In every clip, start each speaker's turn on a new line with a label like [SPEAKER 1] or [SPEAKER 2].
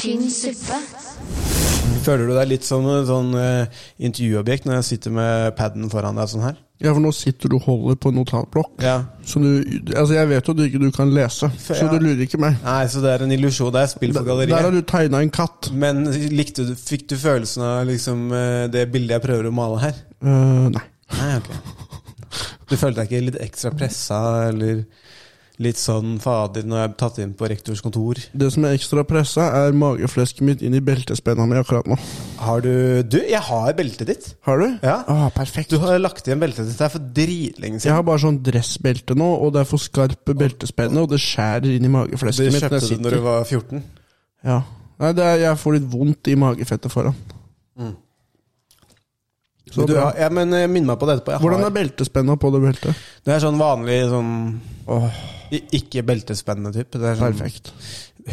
[SPEAKER 1] tynn suppe.
[SPEAKER 2] Føler du deg litt som en sånn eh, intervjuobjekt når jeg sitter med paden foran deg sånn her?
[SPEAKER 3] Ja, for nå sitter du og holder på en notatblokk.
[SPEAKER 2] Ja.
[SPEAKER 3] Så du, altså jeg vet jo at du ikke du kan lese, så
[SPEAKER 2] ja.
[SPEAKER 3] du lurer ikke meg.
[SPEAKER 2] Nei, så det er en illusjon. Det er spill for
[SPEAKER 3] Der har
[SPEAKER 2] galleriet.
[SPEAKER 3] du tegna en katt.
[SPEAKER 2] Men likte du, fikk du følelsen av liksom, eh, det bildet jeg prøver å male her?
[SPEAKER 3] Eh, nei.
[SPEAKER 2] Nei, ok. Du følte deg ikke litt ekstra pressa, eller litt sånn fader når jeg er tatt inn på rektors kontor?
[SPEAKER 3] Det som er ekstra pressa, er mageflesket mitt inn i beltespenna mi akkurat nå.
[SPEAKER 2] Har du Du, jeg har beltet ditt!
[SPEAKER 3] Har du?
[SPEAKER 2] Ja.
[SPEAKER 3] Ah, perfekt.
[SPEAKER 2] Du har lagt igjen beltet ditt der for dritlenge
[SPEAKER 3] Jeg
[SPEAKER 2] siden.
[SPEAKER 3] har bare sånn dressbelte nå, og det er for skarpe beltespenner, og det skjærer inn i
[SPEAKER 2] Du
[SPEAKER 3] mageflesket mitt.
[SPEAKER 2] kjøpte det når du var 14.
[SPEAKER 3] Ja. Nei, det er, jeg får litt vondt i magefettet foran. Så
[SPEAKER 2] Mm. Men du,
[SPEAKER 3] bra.
[SPEAKER 2] har- ja, men eh, minn meg på det etterpå. Jeg
[SPEAKER 3] Hvordan
[SPEAKER 2] har-
[SPEAKER 3] er beltespenna på det beltet?
[SPEAKER 2] Det er sånn vanlig sånn
[SPEAKER 3] Åh,
[SPEAKER 2] i- ikke beltespennende type. Det er sånn
[SPEAKER 3] perfekt.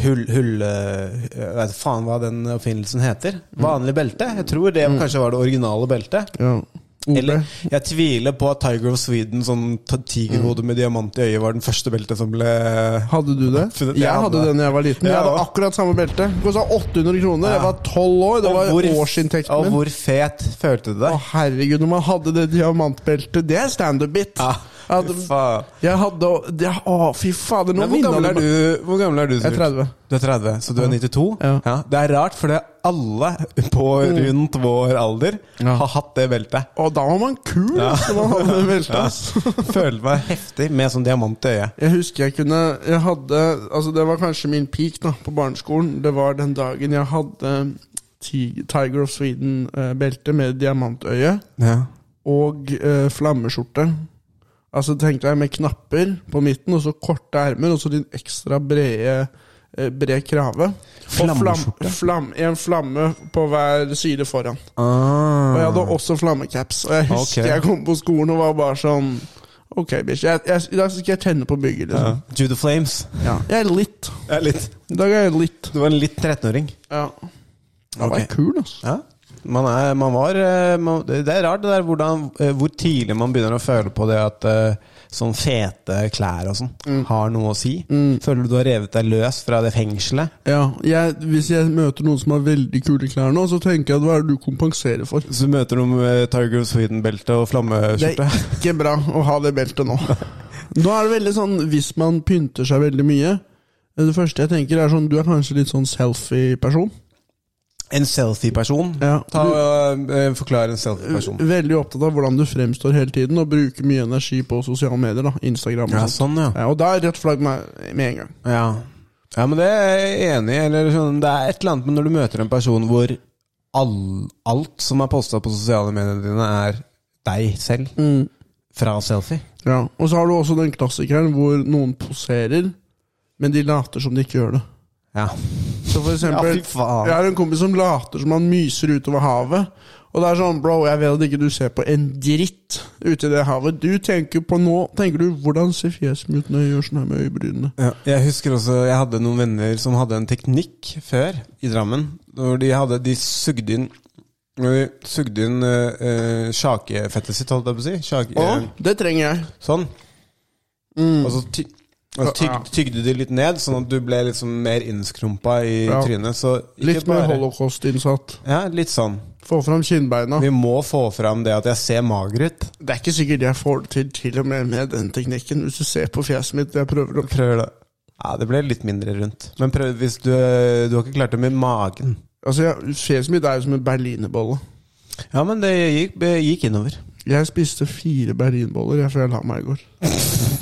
[SPEAKER 2] hull... hull eh, jeg vet faen hva den oppfinnelsen heter. Vanlig belte. Jeg tror det kanskje var det originale beltet.
[SPEAKER 3] Ja. OB.
[SPEAKER 2] Eller jeg tviler på at Tiger of Sweden, sånn t- tigerhode med diamant i øyet, var den første beltet som ble
[SPEAKER 3] Hadde du det?
[SPEAKER 2] Absolutt, jeg
[SPEAKER 3] Jeg
[SPEAKER 2] hadde
[SPEAKER 3] hadde
[SPEAKER 2] det.
[SPEAKER 3] det da jeg var liten.
[SPEAKER 2] Ja,
[SPEAKER 3] Jeg hadde
[SPEAKER 2] ja.
[SPEAKER 3] akkurat samme belte. Det kosta 800 kroner. Jeg var 12 år. Det
[SPEAKER 2] Og
[SPEAKER 3] var
[SPEAKER 2] hvor-
[SPEAKER 3] årsinntekten
[SPEAKER 2] Og
[SPEAKER 3] min.
[SPEAKER 2] hvor fet følte du
[SPEAKER 3] Å,
[SPEAKER 2] deg?
[SPEAKER 3] herregud, når man hadde det diamantbeltet Det er standup-bit.
[SPEAKER 2] Ja,
[SPEAKER 3] Ja,
[SPEAKER 2] fy
[SPEAKER 3] det-
[SPEAKER 2] faen.
[SPEAKER 3] Jeg hadde det, Å, fy fader,
[SPEAKER 2] Nei,
[SPEAKER 3] nå
[SPEAKER 2] hvor, gammel
[SPEAKER 3] minner
[SPEAKER 2] er du, hvor gammel er du?
[SPEAKER 3] Jeg er
[SPEAKER 2] Sivert?
[SPEAKER 3] 30.
[SPEAKER 2] Du er 30, Så du er 92?
[SPEAKER 3] Ja.
[SPEAKER 2] Det er rart, for det er alle på rundt vår alder
[SPEAKER 3] Ja.
[SPEAKER 2] har hatt det beltet.
[SPEAKER 3] Og da var man kul, ass, når man hadde det beltet.
[SPEAKER 2] Ja.
[SPEAKER 3] ass.
[SPEAKER 2] Føler meg heftig med sånn diamant i øyet.
[SPEAKER 3] Jeg husker jeg kunne Jeg hadde Altså, det var kanskje min peak da på barneskolen. Det var den dagen jeg hadde eh, Ti- Tiger of Sweden-belte med diamantøye
[SPEAKER 2] Ja.
[SPEAKER 3] og eh, flammeskjorte. Altså, tenkte jeg med knapper på midten, og så korte ermer, og så din ekstra brede eh, bred krave. Og
[SPEAKER 2] Flammeskjorte?
[SPEAKER 3] flam, en flamme på hver side foran.
[SPEAKER 2] Ah.
[SPEAKER 3] Og jeg hadde også flammecaps. Og jeg husker
[SPEAKER 2] Ok.
[SPEAKER 3] jeg kom på skolen og var bare sånn Ok, bitch. Jeg, jeg, I dag skal jeg tenne på bygget,
[SPEAKER 2] Ja.
[SPEAKER 3] liksom.
[SPEAKER 2] Jude Flames.
[SPEAKER 3] Ja. Jeg er litt.
[SPEAKER 2] Ja, litt.
[SPEAKER 3] I dag er jeg litt.
[SPEAKER 2] Du var en litt 13-åring.
[SPEAKER 3] Ja. Da var
[SPEAKER 2] Ok.
[SPEAKER 3] jeg kul, altså.
[SPEAKER 2] Ja. Man, er, man var eh, man, Det det er rart det der hvordan, eh, hvor tidlig man begynner å føle på det at eh, sånn fete klær og sånn har noe å si. Føler du du har revet deg løs fra det fengselet?
[SPEAKER 3] Ja, jeg, Hvis jeg møter noen som har veldig kule klær nå, så tenker jeg at hva er det du kompenserer for?
[SPEAKER 2] Så møter du med Tiger of Sweden-belte og
[SPEAKER 3] Det
[SPEAKER 2] flammeskjorte.
[SPEAKER 3] er ikke bra å ha det beltet nå. Nå er det veldig sånn, Hvis man pynter seg veldig mye Det første jeg tenker, er sånn Du er kanskje litt sånn selfie-person.
[SPEAKER 2] En selfie-person.
[SPEAKER 3] Ja.
[SPEAKER 2] Ta og eh, Forklar en selfie-person.
[SPEAKER 3] Veldig opptatt av hvordan du fremstår hele tiden, og bruker mye energi på sosiale medier. da Instagram og
[SPEAKER 2] Ja,
[SPEAKER 3] sånt.
[SPEAKER 2] sånn, ja.
[SPEAKER 3] Ja, og da er rødt flagg med, med en gang.
[SPEAKER 2] ja. Ja, men det er jeg enig i. Eller sånn, det er et eller annet med når du møter en person hvor all, alt som er posta på sosiale medier dine, er deg selv. Fra selfie.
[SPEAKER 3] Ja, Og så har du også den klassikeren hvor noen poserer, men de later som de ikke gjør det.
[SPEAKER 2] Ja.
[SPEAKER 3] Så for eksempel,
[SPEAKER 2] Ja, fy faen.
[SPEAKER 3] Jeg har en kompis som later som han myser utover havet. Og det er sånn, bro, jeg vet at ikke du ser på en dritt ute i det havet. Du tenker på nå Tenker du hvordan ser fjeset mitt ut når jeg gjør sånn her med øyebrynene?
[SPEAKER 2] Ja, jeg husker også, jeg hadde noen venner som hadde en teknikk før i Drammen. Hvor de, hadde, de sugde inn, når de sugde inn eh, eh, sjakefettet sitt, holdt jeg på å si. Sjake,
[SPEAKER 3] Å,
[SPEAKER 2] eh,
[SPEAKER 3] det trenger jeg.
[SPEAKER 2] sånn. Og så ty, og så tyg, tygde de litt ned, sånn at du ble liksom mer innskrumpa i
[SPEAKER 3] Ja.
[SPEAKER 2] trynet. Så ikke
[SPEAKER 3] Litt mer
[SPEAKER 2] bare-
[SPEAKER 3] holocaust-innsatt.
[SPEAKER 2] Ja, litt sånn.
[SPEAKER 3] Få fram kinnbeina.
[SPEAKER 2] Vi må få fram det at jeg ser mager ut.
[SPEAKER 3] Det er ikke sikkert jeg får det til til og med med den teknikken, hvis du ser på fjeset mitt. Jeg prøver å
[SPEAKER 2] Prøver det. Ja, det ble litt mindre rundt. Men prøv hvis du Du har ikke klart det med magen.
[SPEAKER 3] Altså, jeg, Fjeset mitt er jo som en berlinerbolle.
[SPEAKER 2] Ja, men det gikk, gikk innover.
[SPEAKER 3] Jeg spiste fire berlinboller jeg, før jeg la meg i går.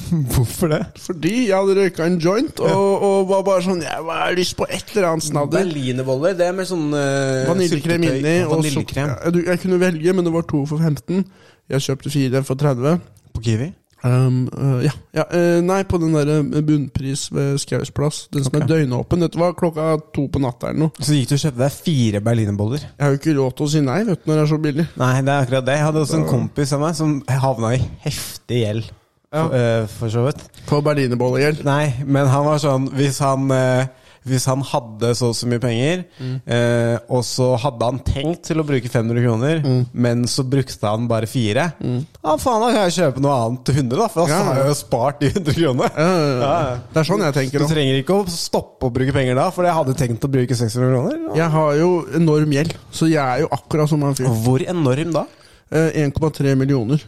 [SPEAKER 2] Hvorfor det?
[SPEAKER 3] Fordi jeg hadde røyka en joint og, og var bare sånn Jeg har lyst på et eller annet snadder.
[SPEAKER 2] Berlinerboller, det er med sånn
[SPEAKER 3] eh,
[SPEAKER 2] uh,
[SPEAKER 3] Vaniljekrem inni. og så-
[SPEAKER 2] Vaniljekrem
[SPEAKER 3] Ja, du- jeg kunne velge, men det var to for 15. Jeg kjøpte fire for 30.
[SPEAKER 2] på Kiwi.
[SPEAKER 3] Um, øh, ja, ja øh, Nei, på den der bunnpris ved Skaus plass. Den som er
[SPEAKER 2] Ok.
[SPEAKER 3] døgnåpen. Dette var klokka to på natta eller noe.
[SPEAKER 2] Så gikk du og kjøpte deg fire berlinerboller.
[SPEAKER 3] Jeg har jo ikke råd til å si nei vet du, når det er så billig.
[SPEAKER 2] Nei, det er akkurat det. Jeg hadde også en kompis av meg som havna i heftig gjeld.
[SPEAKER 3] Ja.
[SPEAKER 2] For, eh, for så vidt.
[SPEAKER 3] På berlinerbollegjeld.
[SPEAKER 2] Nei, men han var sånn Hvis han eh, Hvis han hadde så og så mye penger, eh, og så hadde han tenkt til å bruke 500 kroner, men så brukte han bare fire Ja, faen, da kan jeg kjøpe noe annet til 100, da, for da
[SPEAKER 3] Ja, ja.
[SPEAKER 2] har jeg jo spart de 100 kronene. Ja, ja.
[SPEAKER 3] Det er sånn jeg tenker
[SPEAKER 2] Du
[SPEAKER 3] òg.
[SPEAKER 2] trenger ikke å stoppe å bruke penger da, for jeg hadde tenkt å bruke 600 kroner. Ja.
[SPEAKER 3] Jeg har jo enorm gjeld, så jeg er jo akkurat som han fyren.
[SPEAKER 2] Hvor enorm da?
[SPEAKER 3] Eh, 1,3 millioner.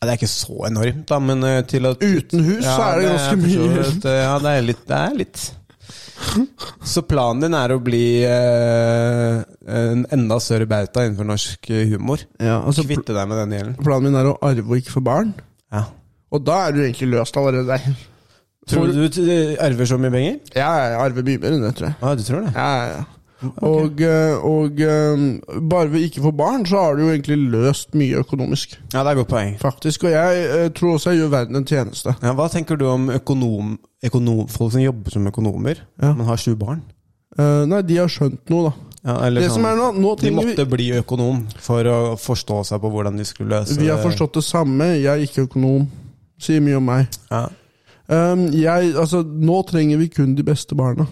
[SPEAKER 2] Ja, det er ikke så enormt, da, men eh, til at
[SPEAKER 3] Uten hus så er det
[SPEAKER 2] jeg
[SPEAKER 3] ganske mye.
[SPEAKER 2] forstår at, eh, ja, det er litt. Det er litt. Så planen din er å bli eh, en enda større bauta innenfor norsk eh, humor?
[SPEAKER 3] Ja, altså, pl-
[SPEAKER 2] Kvitte deg med den gjelden?
[SPEAKER 3] planen min er å arve og ikke få barn.
[SPEAKER 2] Ja.
[SPEAKER 3] Og da er du egentlig løst allerede der.
[SPEAKER 2] Tror du du eh, arver så mye penger?
[SPEAKER 3] Ja, jeg arver mye mer enn det, tror jeg.
[SPEAKER 2] Ja, du tror det?
[SPEAKER 3] Ja, ja, ja. Og, eh, og eh, bare ved ikke å få barn, så har du jo egentlig løst mye økonomisk.
[SPEAKER 2] Ja, det er et godt poeng.
[SPEAKER 3] Faktisk. Og jeg eh, tror også jeg gjør verden en tjeneste.
[SPEAKER 2] Ja, hva tenker du om økonom, økonom, folk som jobber som økonomer,
[SPEAKER 3] Ja.
[SPEAKER 2] men har sju barn?
[SPEAKER 3] Eh, nei, de har skjønt noe, da.
[SPEAKER 2] Ja, eller
[SPEAKER 3] Det
[SPEAKER 2] sånn-
[SPEAKER 3] som er nå, nå
[SPEAKER 2] De
[SPEAKER 3] trenger vi-
[SPEAKER 2] måtte bli økonom for å forstå seg på hvordan de skulle løse
[SPEAKER 3] Vi har
[SPEAKER 2] det.
[SPEAKER 3] forstått det samme. Jeg er ikke økonom. Sier mye om meg.
[SPEAKER 2] Ja.
[SPEAKER 3] Um, jeg, altså, nå trenger vi kun de beste barna.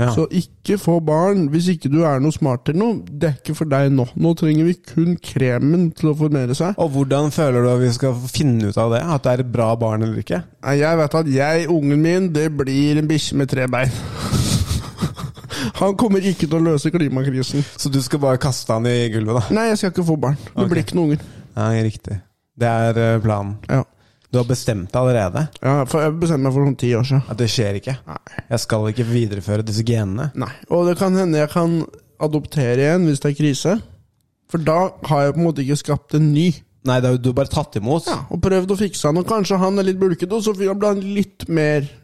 [SPEAKER 2] Ja.
[SPEAKER 3] Så ikke få barn hvis ikke du er noe smart eller noe. Det er ikke for deg nå. Nå trenger vi kun kremen til å formere seg.
[SPEAKER 2] Og hvordan føler du at vi skal finne ut av det? At det er et bra barn eller ikke?
[SPEAKER 3] Nei, Jeg vet at jeg, ungen min, det blir en bikkje med tre bein. Han kommer ikke til å løse klimakrisen.
[SPEAKER 2] Så du skal bare kaste han i gulvet, da?
[SPEAKER 3] Nei, jeg skal ikke få barn. Det
[SPEAKER 2] Ok.
[SPEAKER 3] blir ikke noen unger.
[SPEAKER 2] Nei, riktig. Det er eh, planen.
[SPEAKER 3] Ja.
[SPEAKER 2] Du har bestemt deg allerede?
[SPEAKER 3] Ja, for jeg bestemte meg for sånn ti år siden.
[SPEAKER 2] At det skjer ikke?
[SPEAKER 3] Nei.
[SPEAKER 2] Jeg skal ikke videreføre disse genene?
[SPEAKER 3] Nei. Og det kan hende jeg kan adoptere igjen hvis det er krise. For da har jeg på en måte ikke skapt en ny.
[SPEAKER 2] Nei, det er jo du har bare tatt imot.
[SPEAKER 3] Ja, og prøvd å fikse han, og kanskje han er litt bulkete, og så blir han litt mer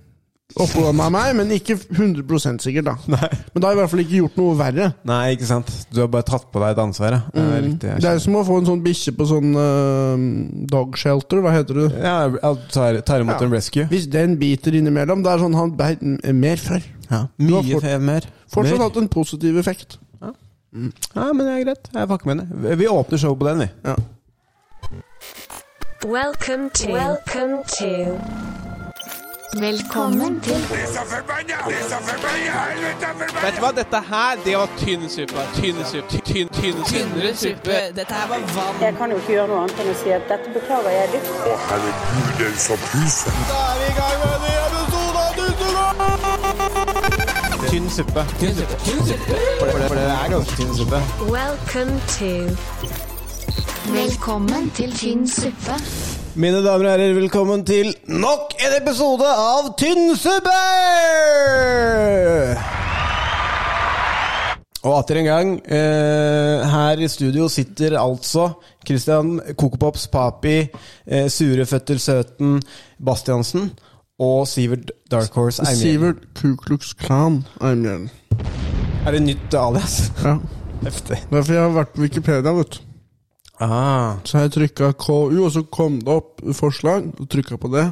[SPEAKER 3] oppegående av meg, men ikke 100 sikkert, da.
[SPEAKER 2] Nei.
[SPEAKER 3] Men da har jeg i hvert fall ikke gjort noe verre.
[SPEAKER 2] Nei, ikke sant? Du har bare tatt på deg et ansvar, ja. ja. Riktig.
[SPEAKER 3] Mm. Det er som å få en sånn bikkje på sånn eh, dog shelter, hva heter det?
[SPEAKER 2] Ja, jeg tar, tar imot
[SPEAKER 3] Ja.
[SPEAKER 2] en rescue.
[SPEAKER 3] Hvis den biter innimellom, det er sånn han beit m- mer før.
[SPEAKER 2] Ja.
[SPEAKER 3] Du har
[SPEAKER 2] Mye
[SPEAKER 3] fort-
[SPEAKER 2] fe- mer.
[SPEAKER 3] Fortsatt
[SPEAKER 2] Mer.
[SPEAKER 3] hatt en positiv effekt.
[SPEAKER 2] Ja, men det er greit. Jeg pakker med det. Vi åpner showet på den, vi.
[SPEAKER 3] Ja.
[SPEAKER 1] Welcome to. Welcome to. Velkommen til.
[SPEAKER 4] Disse forbanna! Disse forbanna! Helvete forbanna!
[SPEAKER 5] Vet du hva, dette her, det var tynn suppe. Tynn suppe. Tynn, tynn, tynn,
[SPEAKER 6] Tynnere suppe. Dette her var vann.
[SPEAKER 7] Jeg kan jo ikke gjøre noe annet enn å si at dette beklager jeg dypt.
[SPEAKER 4] Å, herregud, den som puser.
[SPEAKER 2] Tynn suppe. Tynn suppe. For, det, for det er ganske tynn suppe.
[SPEAKER 1] Welcome to.
[SPEAKER 8] Velkommen til tynn suppe.
[SPEAKER 2] Mine damer og herrer, velkommen til nok en episode av Tynn suppe! Og atter en gang, eh, her i studio sitter altså Christian Kokopops Papi, eh, Sure Føtter Søten Bastiansen og Sivert Dark Horse Eimhjell.
[SPEAKER 3] Sivert Kuklux Klan Eimjølen.
[SPEAKER 2] Er det nytt alias?
[SPEAKER 3] Ja.
[SPEAKER 2] Heftig.
[SPEAKER 3] Derfor jeg har vært på Wikipedia, vet du.
[SPEAKER 2] Ah.
[SPEAKER 3] Så har jeg trykka KU, og så kom det opp forslag, og trykka på det.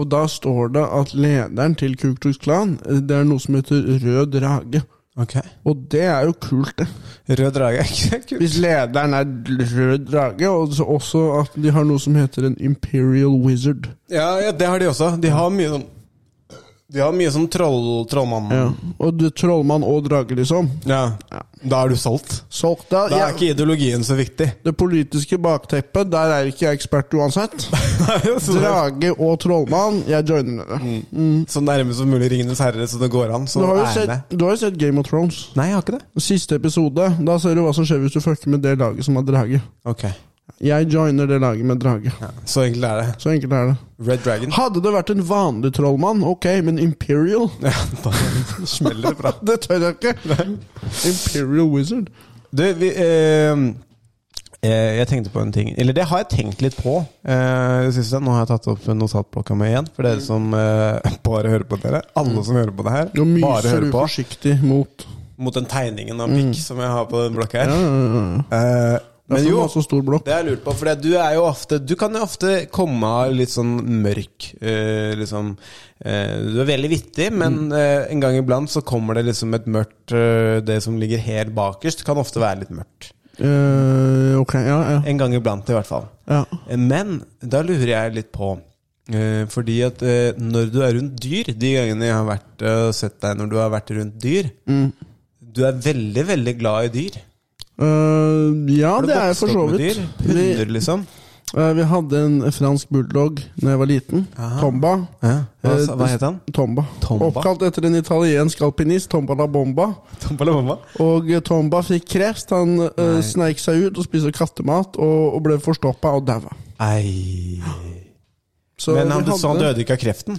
[SPEAKER 3] Og da står det at lederen til Kuklux Klan, eh, det er noe som heter Rød Drage.
[SPEAKER 2] Ok.
[SPEAKER 3] Og det er jo kult, det.
[SPEAKER 2] Rød drage er ikke kult.
[SPEAKER 3] Hvis lederen er Rød Drage, og så også at de har noe som heter en Imperial Wizard.
[SPEAKER 2] Ja, ja, det har de også. De har mye sånn De har mye sånn troll, trollmann.
[SPEAKER 3] Ja. Og du, trollmann og drage, liksom.
[SPEAKER 2] Ja. Da er du solgt.
[SPEAKER 3] Solgt, da.
[SPEAKER 2] Da er
[SPEAKER 3] Jeg,
[SPEAKER 2] ikke ideologien så viktig.
[SPEAKER 3] det politiske bakteppet, der er ikke jeg ekspert uansett.
[SPEAKER 2] så,
[SPEAKER 3] Drage og trollmann, jeg joiner dere.
[SPEAKER 2] så nærme som mulig Ringenes herre, så det går an. Så
[SPEAKER 3] Du har jo
[SPEAKER 2] Mm. er det.
[SPEAKER 3] sett, du har jo sett Game of Thrones.
[SPEAKER 2] Nei, jeg har ikke det.
[SPEAKER 3] Siste episode. Da ser du hva som skjer hvis du fucker med det laget som har drage.
[SPEAKER 2] Ok
[SPEAKER 3] Jeg joiner det laget med drage.
[SPEAKER 2] Så enkelt er det.
[SPEAKER 3] Så enkelt er det.
[SPEAKER 2] Red Dragon.
[SPEAKER 3] Hadde det vært en vanlig trollmann, ok, men Imperial
[SPEAKER 2] Ja, da smeller det bra.
[SPEAKER 3] Det tør jeg ikke. Imperial Wizard.
[SPEAKER 2] Du, vi eh, eh, Jeg tenkte på en ting Eller det har jeg tenkt litt på. Eh, det siste. Nå har jeg tatt opp notatblokka mi igjen. For dere som eh, bare hører på dere. Alle som hører på det her.
[SPEAKER 3] Mm. Nå
[SPEAKER 2] Bare
[SPEAKER 3] myser
[SPEAKER 2] hører
[SPEAKER 3] du
[SPEAKER 2] på.
[SPEAKER 3] forsiktig mot
[SPEAKER 2] mot den tegningen av pikk som jeg har på den blokka her.
[SPEAKER 3] ja, ja, ja.
[SPEAKER 2] Eh,
[SPEAKER 3] Det er sånn
[SPEAKER 2] men
[SPEAKER 3] for
[SPEAKER 2] jo,
[SPEAKER 3] masse stor blokk.
[SPEAKER 2] det har jeg lurt på, for du er jo ofte Du kan jo ofte komme av litt sånn mørk eh, liksom, eh, Du er veldig vittig, men
[SPEAKER 3] Mm.
[SPEAKER 2] eh, en gang iblant så kommer det liksom et mørkt eh, Det som ligger helt bakerst, kan ofte være litt mørkt.
[SPEAKER 3] Eh, ok, ja, ja.
[SPEAKER 2] En gang iblant, i hvert fall.
[SPEAKER 3] ja.
[SPEAKER 2] Eh, Men da lurer jeg litt på Eh, fordi at eh, når du er rundt dyr, de gangene jeg har vært eh, og sett deg når du har vært rundt dyr
[SPEAKER 3] Mm.
[SPEAKER 2] Du er veldig, veldig glad i dyr.
[SPEAKER 3] Eh, ja,
[SPEAKER 2] Har du
[SPEAKER 3] det er jeg
[SPEAKER 2] vokst
[SPEAKER 3] for så
[SPEAKER 2] opp med
[SPEAKER 3] vidt.
[SPEAKER 2] dyr?
[SPEAKER 3] Vi,
[SPEAKER 2] Hunder, liksom?
[SPEAKER 3] eh, vi hadde en fransk bulldog da jeg var liten.
[SPEAKER 2] Aha.
[SPEAKER 3] Tomba.
[SPEAKER 2] Ja. Hva,
[SPEAKER 3] Eh,
[SPEAKER 2] sa- hva het han?
[SPEAKER 3] Tomba.
[SPEAKER 2] Tomba.
[SPEAKER 3] Oppkalt etter en italiensk alpinist, Tomba la Bomba.
[SPEAKER 2] Tombalabomba?
[SPEAKER 3] Og eh, Tomba fikk kreft. Han eh,
[SPEAKER 2] Nei.
[SPEAKER 3] sneik seg ut og spiste kattemat, og, og ble forstoppa og daua.
[SPEAKER 2] Ei
[SPEAKER 3] Så
[SPEAKER 2] Men han,
[SPEAKER 3] vi
[SPEAKER 2] du sa han
[SPEAKER 3] hadde-
[SPEAKER 2] døde ikke av kreften?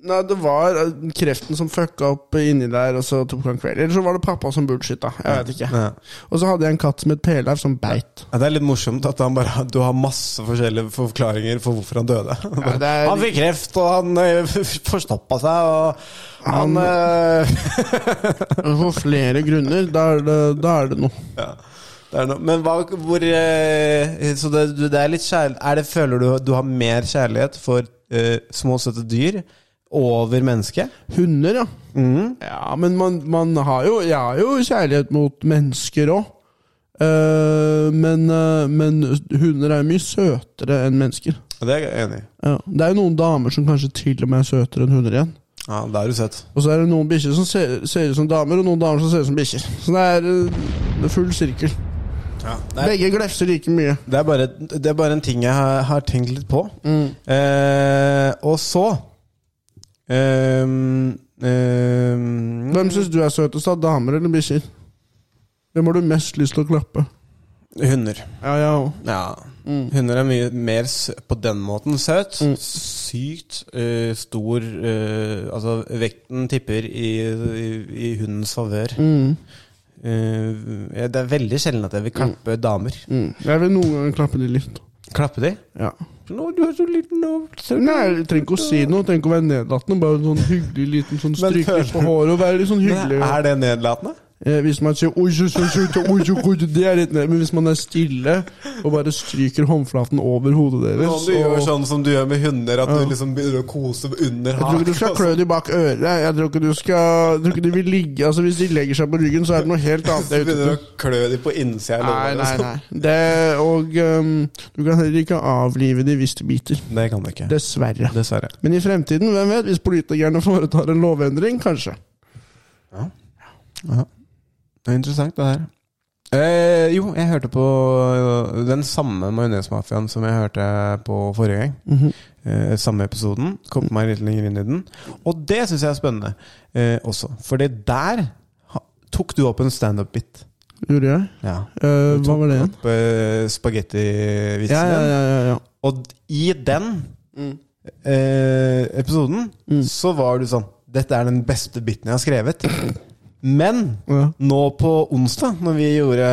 [SPEAKER 3] Nei, det var eh, kreften som fucka opp inni der, og så tok han kveld. Eller så var det pappa som bullshitta. Jeg vet ikke.
[SPEAKER 2] Ja.
[SPEAKER 3] Og så hadde jeg en katt som het Peleiv, som beit.
[SPEAKER 2] Ja, det er litt morsomt at han bare, du har masse forskjellige forklaringer for hvorfor han døde.
[SPEAKER 3] Ja, det er-
[SPEAKER 2] Han fikk kreft, og han forstoppa seg, og han, eh,
[SPEAKER 3] For flere grunner. Da er det, da er det noe.
[SPEAKER 2] ja. det er noe. Men hva, hvor eh, Så det, det er litt kjærlighet er det, Føler du du har mer kjærlighet for eh, små, søte dyr over mennesket?
[SPEAKER 3] Hunder, ja. Ja, men man, man har jo Jeg har jo kjærlighet mot mennesker òg. men, eh, men hunder er jo mye søtere enn mennesker.
[SPEAKER 2] Og Det er jeg enig i.
[SPEAKER 3] Ja. Det er jo noen damer som kanskje til og med er søtere enn hunder igjen.
[SPEAKER 2] Ja, det har du sett.
[SPEAKER 3] Og så er det noen bikkjer som ser, ser ut som damer, og noen damer som ser ut som bikkjer. Så det er eh, full sirkel.
[SPEAKER 2] det er-
[SPEAKER 3] Begge glefser like mye.
[SPEAKER 2] Det er bare, det er bare en ting jeg har, har tenkt litt på. Eh, og så ehm, ehm,
[SPEAKER 3] Hvem syns du er søtest, da? Damer eller bikkjer? Hvem har du mest lyst til å klappe?
[SPEAKER 2] Hunder.
[SPEAKER 3] Ja, ja.
[SPEAKER 2] Ja. Hunder er mye mer sø på den måten søt.
[SPEAKER 3] Mm.
[SPEAKER 2] Sykt eh, stor eh, Altså, vekten tipper i, i, i hundens favør.
[SPEAKER 3] Mm.
[SPEAKER 2] Eh, ja, det er veldig sjelden at jeg vil klappe damer.
[SPEAKER 3] Mm. Jeg vil noen ganger klappe de litt.
[SPEAKER 2] Klappe de?
[SPEAKER 3] Ja.
[SPEAKER 2] Nå, du er så liten og søt.
[SPEAKER 3] Nei, jeg trenger ikke å si noe, trenger ikke å være nedlatende. Bare en sånn hyggelig liten sånn
[SPEAKER 2] Men
[SPEAKER 3] stryk litt
[SPEAKER 2] føler-
[SPEAKER 3] på håret og være litt sånn
[SPEAKER 2] Men
[SPEAKER 3] hyggelig.
[SPEAKER 2] Er det nedlatende?
[SPEAKER 3] Eh, Hvis man sier oi, så, så, så, så, oi, så, oi, så, det er litt ned. Men hvis man er stille og bare stryker håndflaten over hodet
[SPEAKER 2] Nå
[SPEAKER 3] deres
[SPEAKER 2] du gjør
[SPEAKER 3] og-
[SPEAKER 2] sånn som du gjør med hunder, at
[SPEAKER 3] Ja.
[SPEAKER 2] du liksom begynner å kose under
[SPEAKER 3] Jeg tror ikke du skal klø dem bak øret. Jeg tror ikke du skal jeg tror ikke de vil ligge Altså Hvis de legger seg på ryggen, så er det noe helt annet.
[SPEAKER 2] Du
[SPEAKER 3] jeg er ute
[SPEAKER 2] begynner å
[SPEAKER 3] etter.
[SPEAKER 2] klø dem på innsida av liksom.
[SPEAKER 3] Nei, nei,
[SPEAKER 2] låret.
[SPEAKER 3] nei. Det, og øhm, du kan heller ikke avlive de hvis de biter.
[SPEAKER 2] Det kan du ikke.
[SPEAKER 3] Dessverre.
[SPEAKER 2] Dessverre.
[SPEAKER 3] Men i fremtiden, hvem vet? Hvis politikerne foretar en lovendring, kanskje.
[SPEAKER 2] Det er interessant, det her. Eh, jo, jeg hørte på eh, den samme Majonesmafiaen som jeg hørte på forrige gang.
[SPEAKER 3] Mhm.
[SPEAKER 2] eh, samme episoden. Kom meg litt lenger inn i den. Og det syns jeg er spennende eh, også. For der ha, tok du opp en standup-bit.
[SPEAKER 3] Gjorde jeg?
[SPEAKER 2] Ja.
[SPEAKER 3] Eh, hva var det igjen?
[SPEAKER 2] Opp eh, spagettivitsen
[SPEAKER 3] Ja, ja,
[SPEAKER 2] din.
[SPEAKER 3] ja. ja, ja.
[SPEAKER 2] Og d- i den eh, episoden
[SPEAKER 3] Mm.
[SPEAKER 2] så var du sånn Dette er den beste biten jeg har skrevet. Men
[SPEAKER 3] Ja. Mm.
[SPEAKER 2] nå på onsdag, når vi gjorde,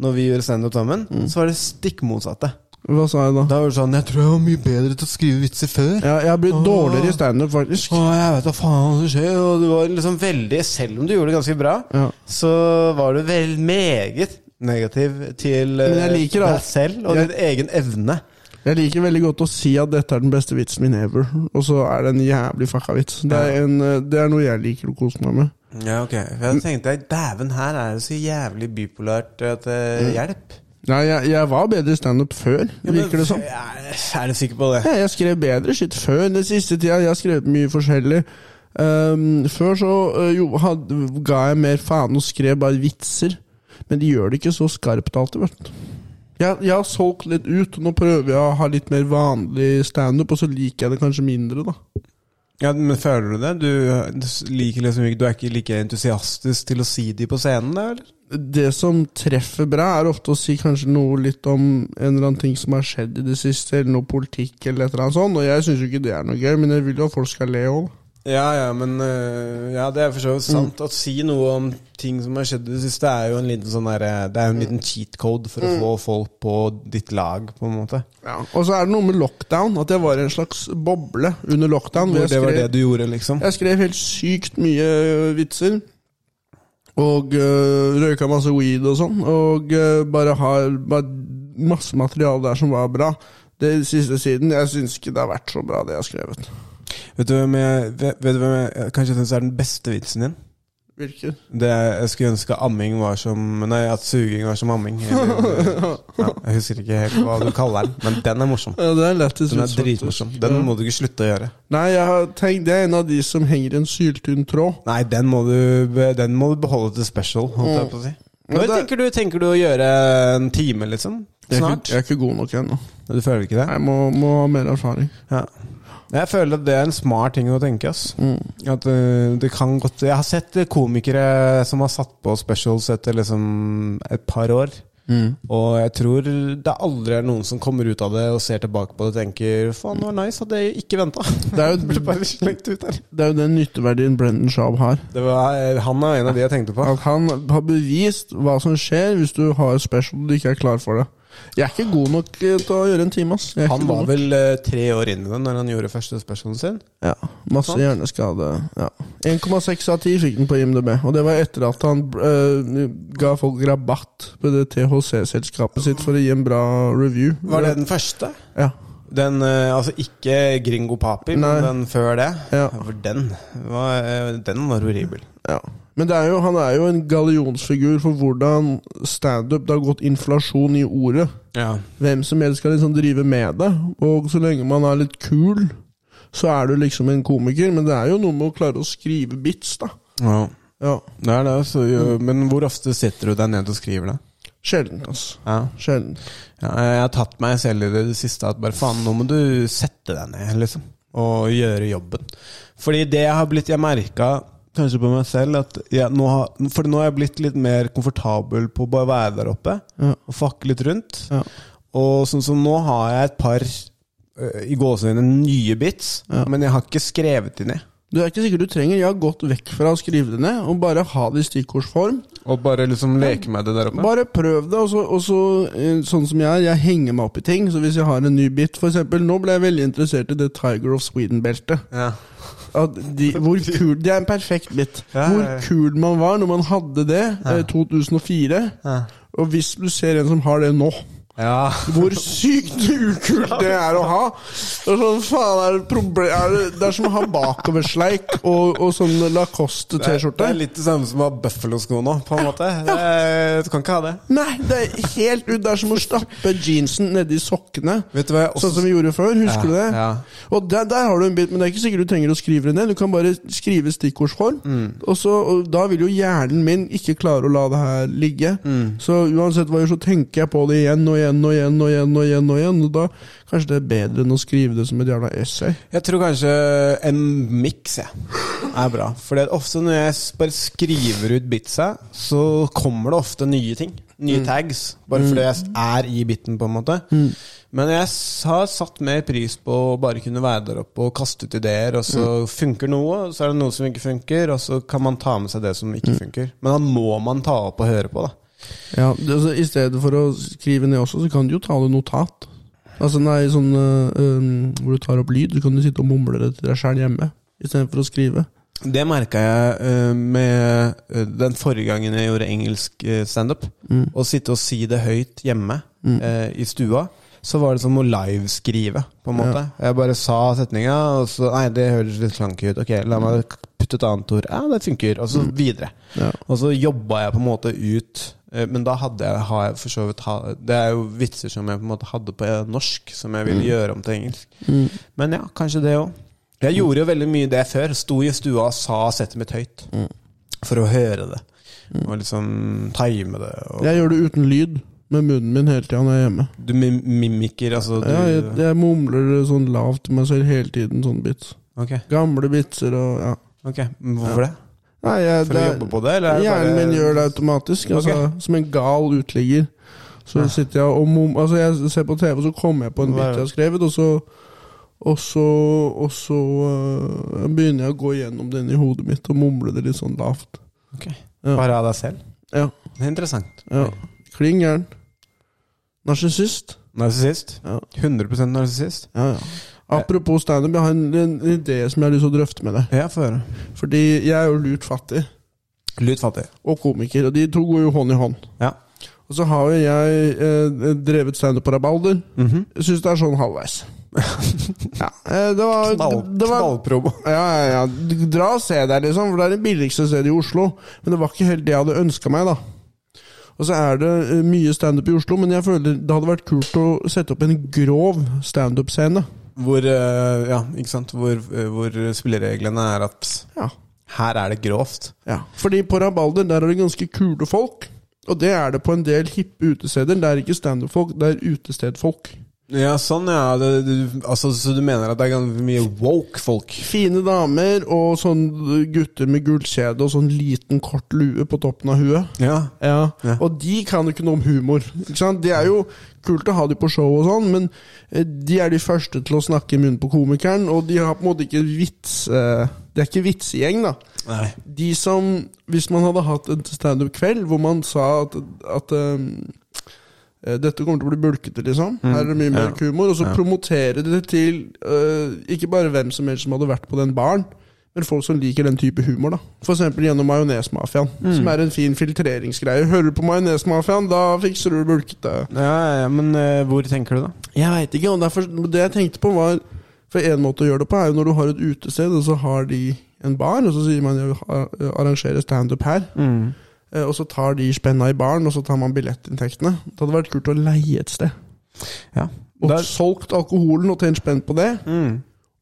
[SPEAKER 2] når vi gjorde standup sammen, så var det stikk motsatte.
[SPEAKER 3] Hva sa jeg da?
[SPEAKER 2] Da var det sånn Jeg tror jeg var mye bedre til å skrive vitser før.
[SPEAKER 3] Ja, jeg har blitt dårligere i standup, faktisk.
[SPEAKER 2] Å, jeg vet da faen hva som skjer. Og du var liksom veldig Selv om du gjorde det ganske bra,
[SPEAKER 3] Ja.
[SPEAKER 2] så var du vel meget negativ til eh,
[SPEAKER 3] Men jeg liker alt.
[SPEAKER 2] deg selv og
[SPEAKER 3] Jeg-
[SPEAKER 2] din egen evne.
[SPEAKER 3] Jeg liker veldig godt å si at dette er den beste vitsen min ever, og så er det en jævlig fucka vits. Det er, en, eh, det er noe jeg liker å kose meg med.
[SPEAKER 2] Ja, ok. For jeg tenkte dæven, her er det så jævlig bipolart at det hjelp.
[SPEAKER 3] Nei, jeg, jeg var bedre i standup før,
[SPEAKER 2] sånn?
[SPEAKER 3] virker det som.
[SPEAKER 2] Er, er du sikker på det?
[SPEAKER 3] Ja, jeg skrev bedre shit før den siste tida. Jeg har skrevet mye forskjellig. Ehm, før så eh, jo, had, ga jeg mer faen og skrev bare vitser. Men de gjør det ikke så skarpt alltid, vet du. Jeg, jeg har solgt litt ut, og nå prøver jeg å ha litt mer vanlig standup, og så liker jeg det kanskje mindre, da.
[SPEAKER 2] Ja, men Føler du det? Du liker liksom ikke Du er ikke like entusiastisk til å si de på scenen, da, eller?
[SPEAKER 3] det som treffer bra, er ofte å si kanskje noe litt om en eller annen ting som har skjedd i det siste, eller noe politikk eller et eller annet sånt. Og jeg syns jo ikke det er noe gøy, men jeg vil jo at folk skal le òg.
[SPEAKER 2] Ja, ja, men øh, Ja, det er for så vidt sant. Å si noe om ting som har skjedd i det siste, er jo en liten sånn derre Det er jo en liten cheat code for å få folk på ditt lag, på en måte.
[SPEAKER 3] Ja. Og så er det noe med lockdown, at jeg var i en slags boble under lockdown. hvor
[SPEAKER 2] Hvor
[SPEAKER 3] jeg
[SPEAKER 2] det var
[SPEAKER 3] skrev-
[SPEAKER 2] det du gjorde, liksom.
[SPEAKER 3] Jeg skrev helt sykt mye ø, vitser. Og ø, røyka masse weed og sånn. Og ø, bare har bare masse materiale der som var bra. Det siste siden. Jeg syns ikke det har vært så bra, det jeg har skrevet.
[SPEAKER 2] Vet du hvem jeg, vet, vet du hvem jeg kanskje syns er den beste vitsen din?
[SPEAKER 3] Hvilken?
[SPEAKER 2] Det, jeg skulle ønske amming var som Nei, at suging var som amming. Eller, ja, jeg husker ikke helt hva du kaller den, men den er morsom.
[SPEAKER 3] Ja, det er lettest
[SPEAKER 2] Den er
[SPEAKER 3] ut, faktisk.
[SPEAKER 2] dritmorsom. Den må du ikke slutte å gjøre.
[SPEAKER 3] Nei, jeg har tenkt, det er en av de som henger en syltynn tråd.
[SPEAKER 2] Nei, den må du, be- den må du beholde til special, holdt jeg på å si. Når
[SPEAKER 3] Mm. Men det-
[SPEAKER 2] tenker du, tenker du å gjøre en time, liksom?
[SPEAKER 3] Jeg er,
[SPEAKER 2] Snart?
[SPEAKER 3] ikke, jeg er ikke god nok ennå.
[SPEAKER 2] Du føler ikke det?
[SPEAKER 3] Jeg må, må ha mer erfaring.
[SPEAKER 2] Ja. Jeg føler at det er en smart ting å tenke. Ass. At øh, det kan godt Jeg har sett øh, komikere som har satt på specials etter liksom et par år. Og jeg tror det aldri er noen som kommer ut av det og ser tilbake på det og tenker faen, det var nice at jeg ikke venta.
[SPEAKER 3] Det er jo-
[SPEAKER 2] Ble bare slengt ut her.
[SPEAKER 3] Det er jo den nytteverdien Brendan Schaub har.
[SPEAKER 2] Det var, øh, han er en av de jeg tenkte på.
[SPEAKER 3] At han har bevist hva som skjer hvis du har special du ikke er klar for det. Jeg er ikke god nok eh, til å gjøre en time, ass. Jeg er
[SPEAKER 2] Han
[SPEAKER 3] ikke
[SPEAKER 2] var
[SPEAKER 3] god nok.
[SPEAKER 2] vel øh, tre år inn i det når han gjorde første specialen sin.
[SPEAKER 3] Ja, Masse
[SPEAKER 2] Sant.
[SPEAKER 3] hjerneskade. Ja. 1,6 av 10 fikk den på IMDb, og det var etter at han eh, ga folk rabatt på det THC-selskapet sitt for å gi en bra review.
[SPEAKER 2] Var det den første?
[SPEAKER 3] Ja.
[SPEAKER 2] Den, eh, altså ikke Gringo Papi,
[SPEAKER 3] Nei.
[SPEAKER 2] men den før det.
[SPEAKER 3] Ja.
[SPEAKER 2] For den var, eh, den var horribel.
[SPEAKER 3] Ja. Men det er jo, han er jo en gallionsfigur for hvordan standup Det har gått inflasjon i ordet.
[SPEAKER 2] Ja.
[SPEAKER 3] Hvem som helst skal liksom drive med det. Og så lenge man er litt kul, så er du liksom en komiker. Men det er jo noe med å klare å skrive bits, da. Ja.
[SPEAKER 2] Det er det, så, jo, men hvor ofte sitter du deg ned og skriver det?
[SPEAKER 3] Sjeldent, altså.
[SPEAKER 2] Ja.
[SPEAKER 3] Sjelden.
[SPEAKER 2] Ja, jeg har tatt meg selv i det, det siste at bare faen, nå må du sette deg ned, liksom. Og gjøre jobben. Fordi det jeg har blitt Jeg merka kanskje på meg selv at jeg, nå har, For nå har jeg blitt litt mer komfortabel på å bare være der oppe
[SPEAKER 3] Ja.
[SPEAKER 2] og fakke litt rundt.
[SPEAKER 3] Ja.
[SPEAKER 2] Og sånn som nå har jeg et par øh, i gåseøynene nye bits,
[SPEAKER 3] Ja.
[SPEAKER 2] men jeg har ikke skrevet de ned.
[SPEAKER 3] Du er ikke sikker du trenger. Jeg har gått vekk fra å skrive det ned, og bare ha det i stikkordsform.
[SPEAKER 2] Og bare liksom leke med det der oppe?
[SPEAKER 3] Bare prøv det, og så, og så eh, sånn som jeg er, jeg henger meg opp i ting. Så hvis jeg har en ny bit, for eksempel, nå ble jeg veldig interessert i det Tiger of Sweden-beltet.
[SPEAKER 2] Ja.
[SPEAKER 3] At de, hvor kul, det er en perfekt bit.
[SPEAKER 2] Ja,
[SPEAKER 3] Hvor
[SPEAKER 2] ja, ja.
[SPEAKER 3] kul man var når man hadde det eh, i 2004. Og hvis du ser en som har det nå,
[SPEAKER 2] Ja.
[SPEAKER 3] hvor sykt ukult det er å ha! Det er sånn, faen, er det, proble er det, det er som å ha bakoversleik og, og sånn
[SPEAKER 2] Det
[SPEAKER 3] Lacoste-T-skjorte.
[SPEAKER 2] er litt det samme som å ha bøffelosko nå, på en måte. Eh, Du kan ikke ha det.
[SPEAKER 3] Nei, det er helt ut. Det er som å stappe jeansen nedi sokkene.
[SPEAKER 2] Vet du hva jeg også-
[SPEAKER 3] Sånn som vi gjorde før. Husker
[SPEAKER 2] Ja,
[SPEAKER 3] du det?
[SPEAKER 2] ja.
[SPEAKER 3] Og der, der har du en bit, men det er ikke sikkert du trenger å skrive det ned. Du kan bare skrive stikkordsform.
[SPEAKER 2] Mm.
[SPEAKER 3] Og, så, og da vil jo hjernen min ikke klare å la det her ligge.
[SPEAKER 2] Mm.
[SPEAKER 3] Så uansett hva jeg gjør, så tenker jeg på det igjen og igjen og igjen og igjen. Og igjen og igjen Og da kanskje det er bedre enn å skrive det som et jævla essay.
[SPEAKER 2] Jeg tror kanskje en miks jeg, er bra. For ofte når jeg s- bare skriver ut bitsa, så kommer det ofte nye ting. Nye tags. Bare fordi jeg s- er i biten, på en måte. Men jeg s- har satt mer pris på å bare kunne være der oppe og kaste ut ideer, og så funker noe, og så er det noe som ikke funker, og så kan man ta med seg det som ikke funker. Men da må man ta opp og høre på, da.
[SPEAKER 3] Ja, det, altså, I stedet for å skrive ned også, så kan du jo ta det notat. Altså nei, sånn øh, øhm, Hvor du tar opp lyd. Du kan jo sitte og mumle det til deg sjæl hjemme. Istedenfor å skrive.
[SPEAKER 2] Det merka jeg eh, med eh, den forrige gangen jeg gjorde engelsk eh, standup. Å sitte og si det høyt hjemme eh, i stua, så var det som å liveskrive. på en måte. Jeg bare sa setninga, og så Nei, det høres litt slank ut. Ok, la meg putte et annet ord. Ja, det funker. Og så videre.
[SPEAKER 3] Ja.
[SPEAKER 2] Og så jobba jeg på en måte ut eh, men da hadde jeg, har jeg for så vidt ha, Det er jo vitser som jeg på en måte hadde på eh, norsk, som jeg ville
[SPEAKER 3] Mm.
[SPEAKER 2] gjøre om til engelsk. Men ja, kanskje det òg.
[SPEAKER 3] Mm.
[SPEAKER 2] Jeg gjorde jo veldig mye det før. Sto i stua og sa settet mitt høyt.
[SPEAKER 3] Mm.
[SPEAKER 2] For å høre det. Og liksom time det. Og
[SPEAKER 3] Jeg gjør det uten lyd, med munnen min hele tida når jeg er hjemme.
[SPEAKER 2] du mim mimikker, altså du
[SPEAKER 3] Ja, jeg, jeg mumler det sånn lavt til meg selv hele tiden, sånn bits.
[SPEAKER 2] Ok,
[SPEAKER 3] Gamle bitser og ja.
[SPEAKER 2] ok. Men Hvorfor det?
[SPEAKER 3] Nei, jeg,
[SPEAKER 2] For å
[SPEAKER 3] det-
[SPEAKER 2] jobbe på det? Eller er det
[SPEAKER 3] Hjernen
[SPEAKER 2] bare-
[SPEAKER 3] min gjør det automatisk, altså, som en gal uteligger. Så sitter jeg og mum... Altså, jeg ser på TV, og så kommer jeg på en bit jeg har skrevet, og så og så, og så øh, begynner jeg å gå gjennom den i hodet mitt og mumle det litt sånn lavt.
[SPEAKER 2] Ok.
[SPEAKER 3] Ja.
[SPEAKER 2] Bare av deg selv?
[SPEAKER 3] Ja.
[SPEAKER 2] Det er interessant.
[SPEAKER 3] ja. Kling gæren. Narsissist.
[SPEAKER 2] Narsissist?
[SPEAKER 3] Ja.
[SPEAKER 2] 100 narsissist?
[SPEAKER 3] Ja, ja. Apropos standup, jeg har en, en idé som jeg har lyst til å drøfte med deg.
[SPEAKER 2] Ja, få høre.
[SPEAKER 3] Fordi jeg er jo lurt fattig,
[SPEAKER 2] Lut fattig.
[SPEAKER 3] og komiker, og de to går jo hånd i hånd.
[SPEAKER 2] Ja.
[SPEAKER 3] eh, Og så har jo jeg eh, drevet standup på Rabalder. Jeg syns det er sånn halvveis. Ja, eh, det var,
[SPEAKER 2] Knall-
[SPEAKER 3] det var
[SPEAKER 2] knallpromo.
[SPEAKER 3] Ja, ja, ja. D- Dra og se der, liksom, for det er det billigste stedet i Oslo. Men det var ikke helt det jeg hadde ønska meg, da. Og så er det eh, mye standup i Oslo, men jeg føler det hadde vært kult å sette opp en grov standup-scene.
[SPEAKER 2] Hvor, eh, ja, ikke sant? Hvor, eh, hvor spillereglene er at
[SPEAKER 3] Ja.
[SPEAKER 2] her er det grovt.
[SPEAKER 3] ja. Fordi på Rabalder der er det ganske kule folk. Og det er det på en del hippe utesteder. Det er ikke standup-folk, det er utestedfolk.
[SPEAKER 2] Ja, sånn, ja. Det, du, altså, så du mener at det er ganske mye woke folk?
[SPEAKER 3] Fine damer og sånn gutter med gullkjede og sånn liten, kort lue på toppen av huet.
[SPEAKER 2] Ja.
[SPEAKER 3] Ja. Og de kan jo ikke noe om humor. Ikke sant? Det er jo kult å ha de på show, og sånn men eh, de er de første til å snakke i munnen på komikeren. Og de har på en måte ikke vits eh, Det er ikke vitsegjeng, da.
[SPEAKER 2] Nei.
[SPEAKER 3] De som Hvis man hadde hatt en standup-kveld hvor man sa at, at eh, eh, dette kommer til å bli bulkete, liksom. Her er det mye mer humor. Og så promotere det til eh, ikke bare hvem som helst som hadde vært på den baren, men folk som liker den type humor. da F.eks. gjennom Majonesmafiaen, som er en fin filtreringsgreie. Hører du på Majonesmafiaen, da fikser du det bulkete.
[SPEAKER 2] Ja, ja, men eh, hvor tenker du, da?
[SPEAKER 3] Jeg veit ikke. og derfor, Det jeg tenkte på, var For en måte å gjøre det på er jo når du har et utested, og så har de en bar, og så sier man jeg vil ha- arrangere standup her. Eh, Og så tar de spenna i baren, og så tar man billettinntektene. Det hadde vært kult å leie et sted.
[SPEAKER 2] Ja.
[SPEAKER 3] Og
[SPEAKER 2] Der-
[SPEAKER 3] solgt alkoholen og tjent spenn på det.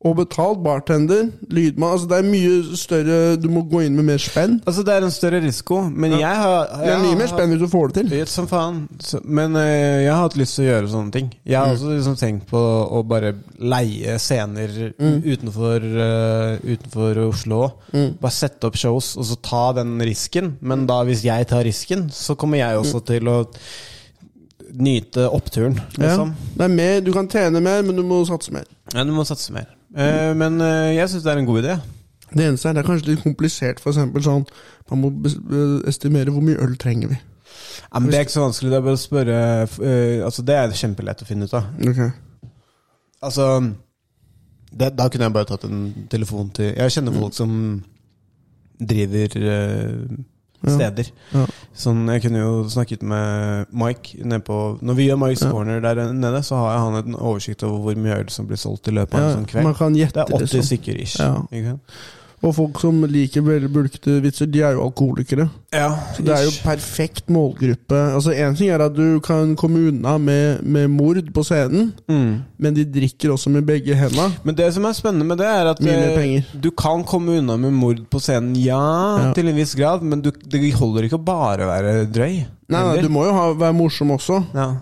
[SPEAKER 3] Og betalt bartender, lydmann altså Det er mye større Du må gå inn med mer spenn.
[SPEAKER 2] Altså, det er en større risiko, men jeg har
[SPEAKER 3] Det er mye mer spenn hvis du får det til.
[SPEAKER 2] Vet som faen. Så, men eh, jeg har hatt lyst til å gjøre sånne ting. Jeg har også liksom tenkt på å bare leie scener utenfor, eh, utenfor Oslo. Bare sette opp shows og så ta den risken. Men da hvis jeg tar risken, så kommer jeg også til å nyte oppturen,
[SPEAKER 3] Ja.
[SPEAKER 2] liksom.
[SPEAKER 3] Det er mer, du kan tjene mer, men du må satse mer.
[SPEAKER 2] Ja, du må satse mer. Eh, men eh, jeg syns det er en god idé.
[SPEAKER 3] Det eneste er det er kanskje litt komplisert, for eksempel sånn Man må bes- eh, estimere hvor mye øl trenger vi.
[SPEAKER 2] Ja, men det er ikke så vanskelig. Det er bare å spørre eh, Altså, det er kjempelett å finne ut av. Altså det, Da kunne jeg bare tatt en telefon til Jeg kjenner
[SPEAKER 3] Mm.
[SPEAKER 2] folk som driver eh, steder.
[SPEAKER 3] Ja.
[SPEAKER 2] Sånn, jeg kunne jo snakket med Mike nede på Når vi gjør Mike's Corner der nede, så har han en oversikt over hvor mye øl som blir solgt i løpet av
[SPEAKER 3] Ja,
[SPEAKER 2] en sånn kveld.
[SPEAKER 3] man kan gjette,
[SPEAKER 2] det er 80
[SPEAKER 3] liksom.
[SPEAKER 2] stykker ish.
[SPEAKER 3] Ja.
[SPEAKER 2] Ikke sant?
[SPEAKER 3] Og folk som liker veldig bulkete vitser, de er jo alkoholikere.
[SPEAKER 2] Ja,
[SPEAKER 3] Så det er jo perfekt målgruppe. Altså Én ting er at du kan komme unna med, med mord på scenen, men de drikker også med begge henda.
[SPEAKER 2] Men det som er spennende med det, er at
[SPEAKER 3] Mye mer
[SPEAKER 2] eh,
[SPEAKER 3] penger.
[SPEAKER 2] du kan komme unna med mord på scenen, ja,
[SPEAKER 3] Ja.
[SPEAKER 2] til en viss grad, men du, det holder ikke å bare være drøy.
[SPEAKER 3] Nei, nei,
[SPEAKER 2] heller.
[SPEAKER 3] du må jo ha, være morsom også.
[SPEAKER 2] ja.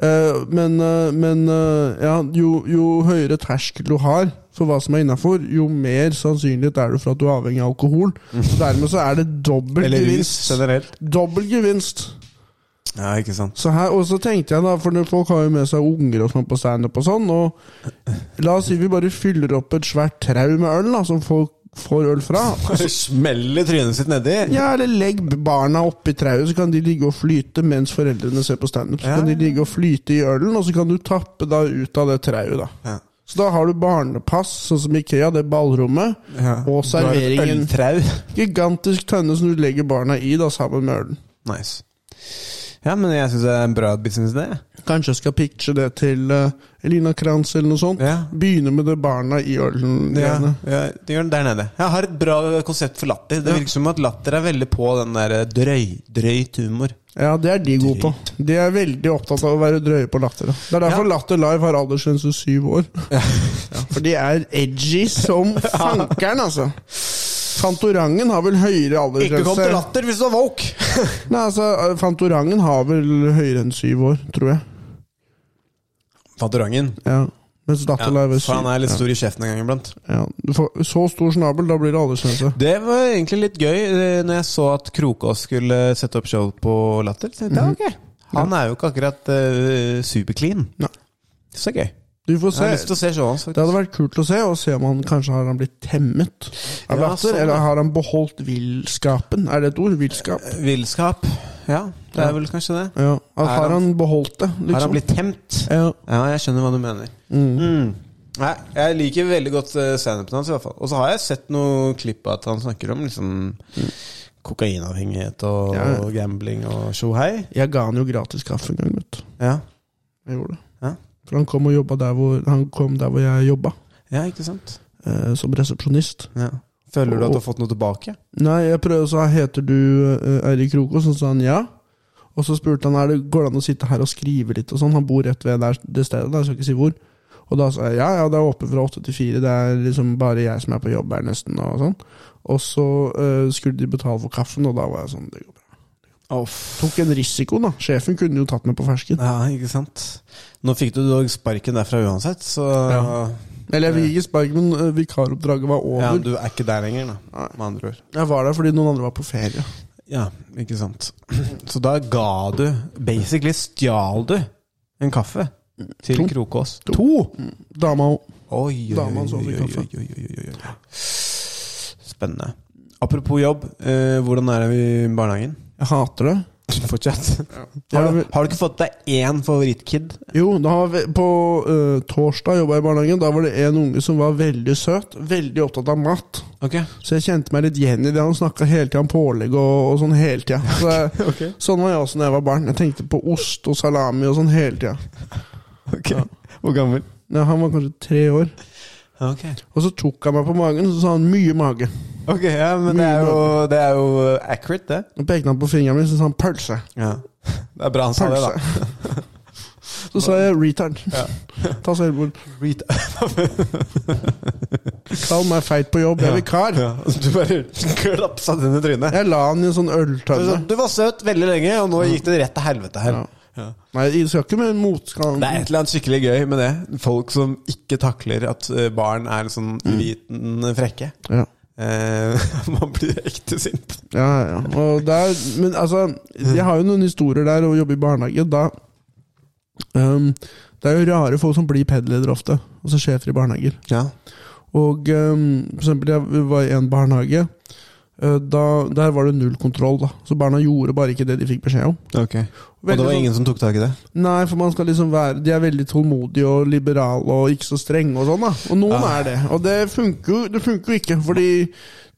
[SPEAKER 3] Eh, men eh, men eh, ja, jo, jo høyere terskel du har for hva som er innafor, jo mer sannsynlighet er det for at du er avhengig av alkohol. Og dermed så er det dobbel
[SPEAKER 2] Mm. Eller rus
[SPEAKER 3] gevinst.
[SPEAKER 2] generelt.
[SPEAKER 3] Dobbel gevinst.
[SPEAKER 2] Ja, ikke sant.
[SPEAKER 3] Så her, og så tenkte jeg da, for når folk har jo med seg unger og sånn på standup og sånn, og la oss si vi bare fyller opp et svært trau med øl, da, som folk får øl fra.
[SPEAKER 2] Smeller trynet sitt nedi.
[SPEAKER 3] Ja, eller legg barna oppi trauet, så kan de ligge og flyte mens foreldrene ser på standup. Så
[SPEAKER 2] Ja.
[SPEAKER 3] kan de ligge og flyte i ølen, og så kan du tappe da ut av det trauet, da.
[SPEAKER 2] Ja.
[SPEAKER 3] Så da har du barnepass, sånn som Ikea, det ballrommet, og serveringen.
[SPEAKER 2] Øltrau.
[SPEAKER 3] Gigantisk tønne som du legger barna i, da, sammen med ølen.
[SPEAKER 2] Nice. Ja, men jeg syns det er en bra business, det.
[SPEAKER 3] Kanskje jeg skal pitche det til eh, Elina Kranz eller noe sånt.
[SPEAKER 2] Ja.
[SPEAKER 3] Begynne med det barna i ølen.
[SPEAKER 2] Ja,
[SPEAKER 3] greiene.
[SPEAKER 2] ja, det gjør den der nede. Jeg har et bra konsept for latter. Det virker som at latter er veldig på den der eh, drøy, drøyt humor.
[SPEAKER 3] Ja, det er de gode på. De er veldig opptatt av å være drøye på latter. da. Det er derfor
[SPEAKER 2] Ja.
[SPEAKER 3] Latter Live har aldersgrense syv år. For de er edgy som fankeren, altså. Fantorangen har vel
[SPEAKER 2] Ikke
[SPEAKER 3] høyere
[SPEAKER 2] kom til
[SPEAKER 3] aldersgrense
[SPEAKER 2] latter hvis du er woke!
[SPEAKER 3] Nei, altså, Fantorangen har vel høyere enn syv år, tror jeg.
[SPEAKER 2] Fantorangen.
[SPEAKER 3] Ja. Mens
[SPEAKER 2] Ja,
[SPEAKER 3] Latter Live er
[SPEAKER 2] for han
[SPEAKER 3] syv.
[SPEAKER 2] er litt stor i kjeften en gang iblant.
[SPEAKER 3] Ja. Du får Så stor snabel, da blir det aldersgrense.
[SPEAKER 2] Det var egentlig litt gøy eh, Når jeg så at Krokås skulle sette opp show på Latter. Så tenkte jeg, ok Han er jo ikke akkurat eh, superclean.
[SPEAKER 3] Nei.
[SPEAKER 2] Så gøy.
[SPEAKER 3] Du får
[SPEAKER 2] Jeg har
[SPEAKER 3] se.
[SPEAKER 2] lyst til å se showet hans.
[SPEAKER 3] Det
[SPEAKER 2] faktisk.
[SPEAKER 3] hadde vært kult å se, og se om han kanskje har han blitt temmet
[SPEAKER 2] Ja,
[SPEAKER 3] av latter.
[SPEAKER 2] sånn, ja.
[SPEAKER 3] Eller har han beholdt villskapen? Er det et ord? Villskap?
[SPEAKER 2] Villskap. Ja, det
[SPEAKER 3] Ja.
[SPEAKER 2] er vel kanskje det.
[SPEAKER 3] Ja. At,
[SPEAKER 2] Er
[SPEAKER 3] har
[SPEAKER 2] han-
[SPEAKER 3] han beholdt det, liksom?
[SPEAKER 2] Har han blitt temt?
[SPEAKER 3] ja.
[SPEAKER 2] Ja, jeg skjønner hva du mener. Mm. Nei, jeg liker veldig godt eh, standupen hans, i hvert fall. Og så har jeg sett noen klipp av at han snakker om liksom kokainavhengighet og,
[SPEAKER 3] Ja.
[SPEAKER 2] og gambling og tjohei.
[SPEAKER 3] Jeg ga han jo gratis kaffe en gang, vet du.
[SPEAKER 2] Ja.
[SPEAKER 3] Jeg gjorde det.
[SPEAKER 2] Ja.
[SPEAKER 3] For han kom og jobba der hvor, han kom der hvor jeg jobba,
[SPEAKER 2] Ja, ikke sant?
[SPEAKER 3] eh, som resepsjonist.
[SPEAKER 2] Ja. Føler du at du har fått noe tilbake?
[SPEAKER 3] Nei, jeg prøvde å sa heter du eh, Eirik Krokås, og så sa han ja. Og så spurte han er det går det an å sitte her og skrive litt. og sånn Han bor rett ved der, det stedet, da, jeg skal ikke si hvor. Og da sa jeg ja, ja, det er åpent fra åtte til fire. Det er liksom bare jeg som er på jobb her, nesten. Og sånn Og så eh, skulle de betale for kaffen, og da var jeg sånn Det går bra. Tok en risiko, da. Sjefen kunne jo tatt meg på fersken.
[SPEAKER 2] Ja, ikke sant? Nå fikk du dog sparken derfra uansett, så ja.
[SPEAKER 3] Ja. Eller jeg fikk ikke sparken, men eh, vikaroppdraget var over.
[SPEAKER 2] du er ikke der lenger, da, med andre ord.
[SPEAKER 3] Jeg var der fordi noen andre var på ferie.
[SPEAKER 2] Ja, ikke sant. Så da ga du Basically stjal du en kaffe til
[SPEAKER 3] To.
[SPEAKER 2] Krokås.
[SPEAKER 3] To. Mm. Dama òg.
[SPEAKER 2] Oi, oi,
[SPEAKER 3] Dama hans
[SPEAKER 2] oi,
[SPEAKER 3] over
[SPEAKER 2] oi,
[SPEAKER 3] kaffe.
[SPEAKER 2] oi, oi, oi, oi, oi. Spennende. Apropos jobb, eh, hvordan er det i barnehagen?
[SPEAKER 3] Jeg hater det.
[SPEAKER 2] Fortsett. Har, du, har du ikke fått deg én favorittkid?
[SPEAKER 3] Jo, da var vi, på eh, torsdag jobba jeg i barnehagen. Da var det en unge som var veldig søt, veldig opptatt av mat.
[SPEAKER 2] Ok
[SPEAKER 3] Så jeg kjente meg litt igjen i det. Han snakka hele tida om pålegg og, og sånn hele tida. Så jeg- Sånn var jeg også da jeg var barn. Jeg tenkte på ost og salami og sånn hele tida.
[SPEAKER 2] Ja. Hvor gammel?
[SPEAKER 3] Ja, han var kanskje tre år.
[SPEAKER 2] Ok,
[SPEAKER 3] Og så tok han meg på magen, og så sa han 'mye mage'.
[SPEAKER 2] ja, men det er jo, det er jo eh, accurate, det.
[SPEAKER 3] Og pekte han på fingeren min, så sa han 'pølse'.
[SPEAKER 2] Ja. Det er bra han sa det, da.
[SPEAKER 3] Pølse. Så sa jeg 'retard'.
[SPEAKER 2] Ja.
[SPEAKER 3] Ta selvmord. Kall meg feit på jobb, jeg er vikar.
[SPEAKER 2] Ja, altså, du bare klapsa den i trynet.
[SPEAKER 3] Jeg la han i en
[SPEAKER 2] Du
[SPEAKER 3] sånn
[SPEAKER 2] sa,
[SPEAKER 3] øltønne.
[SPEAKER 2] Du var søt veldig lenge, og nå gikk det rett til helvete her.
[SPEAKER 3] Ja. Nei, det skal ikke med motstand.
[SPEAKER 2] Det er et eller annet skikkelig gøy med det. Folk som ikke takler at eh, barn er en sånn liten frekke.
[SPEAKER 3] Ja.
[SPEAKER 2] Eh, man blir ekte sint.
[SPEAKER 3] Ja, ja. Og der, men altså, jeg har jo noen historier der og jobber i barnehage. Da ehm, Det er jo rare folk som blir PED-ledere ofte. Altså sjefer i barnehager.
[SPEAKER 2] Ja.
[SPEAKER 3] Og ehm, for eksempel, jeg var i en barnehage. eh, Da, der var det null kontroll, da. Så barna gjorde bare ikke det de fikk beskjed om.
[SPEAKER 2] Ok. Og
[SPEAKER 3] Veldig
[SPEAKER 2] det var
[SPEAKER 3] sånn-
[SPEAKER 2] ingen som tok tak i det?
[SPEAKER 3] Nei, for man skal liksom være De er veldig tålmodige og liberale og ikke så strenge og sånn, da. Og noen er det. Og det funker jo det funker jo ikke, fordi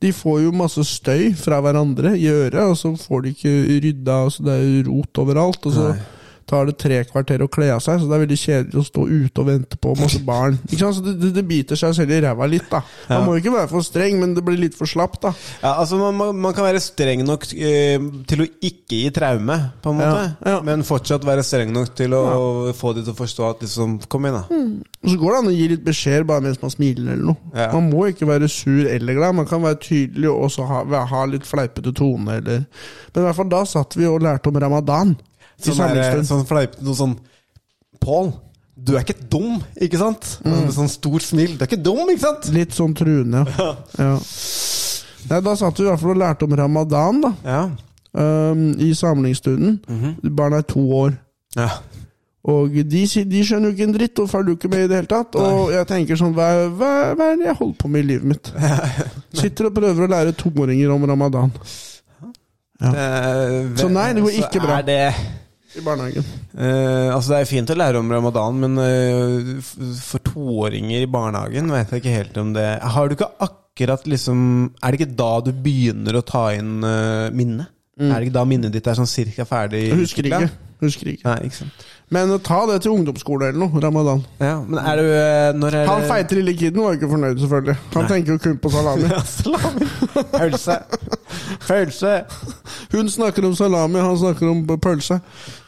[SPEAKER 3] de får jo masse støy fra hverandre i øret, og så får de ikke rydda, og så det er jo rot overalt. Og så tar det tre kvarter å kle av seg, så det er veldig kjedelig å stå ute og vente på masse barn. Ikke sant? Så det, det, det biter seg selv i ræva litt, da. Man må jo ikke være for streng, men det blir litt for slapt, da.
[SPEAKER 2] Ja, altså man, man, man kan være streng nok eh, til å ikke gi traume, på en måte.
[SPEAKER 3] Ja, ja.
[SPEAKER 2] Men fortsatt være streng nok til å få de til å forstå at liksom Kom igjen, da.
[SPEAKER 3] Og så går det an å gi litt beskjed bare mens man smiler eller noe.
[SPEAKER 2] Ja.
[SPEAKER 3] Man må ikke være sur eller glad. Man kan være tydelig og også ha, ha litt fleipete tone. Eller. Men i hvert fall da satt vi og lærte om ramadan. I
[SPEAKER 2] Sånn, der,
[SPEAKER 3] samlingsstund.
[SPEAKER 2] sånn fleipete noe sånn Pål, du er ikke dum, ikke sant?
[SPEAKER 3] Mm.
[SPEAKER 2] Med sånn stort smil. Du er ikke dum, ikke sant?
[SPEAKER 3] Litt sånn truende. Ja. Ja. Nei, da satt vi i hvert fall og lærte om ramadan da,
[SPEAKER 2] Ja.
[SPEAKER 3] øhm, i samlingsstunden.
[SPEAKER 2] Mhm.
[SPEAKER 3] Barna er to år.
[SPEAKER 2] ja.
[SPEAKER 3] Og de, si- de skjønner jo ikke en dritt og følger jo ikke med i det hele tatt. Og jeg tenker sånn hva, hva, hva er det jeg holder på med i livet mitt? Sitter og prøver å lære toåringer om ramadan
[SPEAKER 2] Eh,
[SPEAKER 3] Så nei, det går ikke
[SPEAKER 2] så
[SPEAKER 3] bra.
[SPEAKER 2] Er det,
[SPEAKER 3] i barnehagen.
[SPEAKER 2] eh, altså det er fint å lære om ramadan, men eh, f- for toåringer i barnehagen vet jeg ikke helt om det Har du ikke akkurat liksom Er det ikke da du begynner å ta inn eh, minnet? Er det ikke da minnet ditt er sånn cirka ferdig?
[SPEAKER 3] Mm. Jeg husker ikke.
[SPEAKER 2] utviklet?
[SPEAKER 3] Husker ikke.
[SPEAKER 2] Nei, ikke sant.
[SPEAKER 3] Men ta det til ungdomsskole eller noe, ramadan.
[SPEAKER 2] Ja, men er du eh, Når er
[SPEAKER 3] Han
[SPEAKER 2] det-
[SPEAKER 3] feite lille kiden var jo ikke fornøyd, selvfølgelig. Han tenker jo kun på salami.
[SPEAKER 2] Ja, salami. Pølse. Pølse.
[SPEAKER 3] Hun snakker om salami, han snakker om pølse.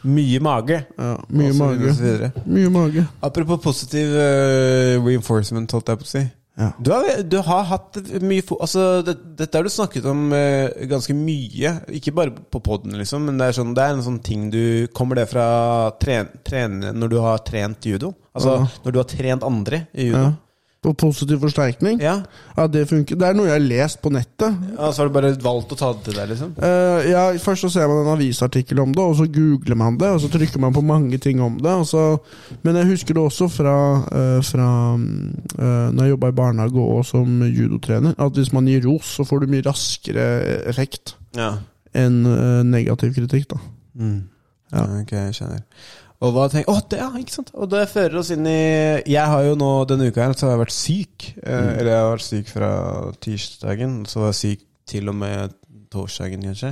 [SPEAKER 2] Mye mage.
[SPEAKER 3] Ja,
[SPEAKER 2] Og så videre, og
[SPEAKER 3] mye
[SPEAKER 2] så
[SPEAKER 3] mage.
[SPEAKER 2] videre.
[SPEAKER 3] Mye mage.
[SPEAKER 2] Apropos positiv eh, reinforcement, holdt jeg på å si.
[SPEAKER 3] Ja.
[SPEAKER 2] Du, har, du har hatt mye fo altså, det, Dette har du snakket om eh, ganske mye. Ikke bare på poden, liksom, men det er, sånn, det er en sånn ting du Kommer det fra tren, tren, når du har trent judo? Altså
[SPEAKER 3] Ja.
[SPEAKER 2] når du har trent andre i judo?
[SPEAKER 3] Ja. Og positiv forsterkning.
[SPEAKER 2] Ja.
[SPEAKER 3] Ja, det funker. Det er noe jeg har lest på nettet.
[SPEAKER 2] Og så har du bare valgt å ta det til deg, liksom?
[SPEAKER 3] Eh, ja, først så ser man en avisartikkel om det, og så googler man det, og så trykker man på mange ting om det. Og så, men jeg husker det også fra, uh, fra eh, når jeg jobba i barnehage og som judotrener, at hvis man gir ros, så får du mye raskere effekt
[SPEAKER 2] Ja.
[SPEAKER 3] enn eh, negativ kritikk. da.
[SPEAKER 2] Ja. Eh, Ok, jeg skjønner. Og hva tenk, å, det, ja, ikke sant? Og det fører oss inn i Jeg har jo nå denne uka her Så har jeg vært syk. Eh, Eller jeg har vært syk fra tirsdagen. Så var jeg syk til og med torsdagen, kanskje.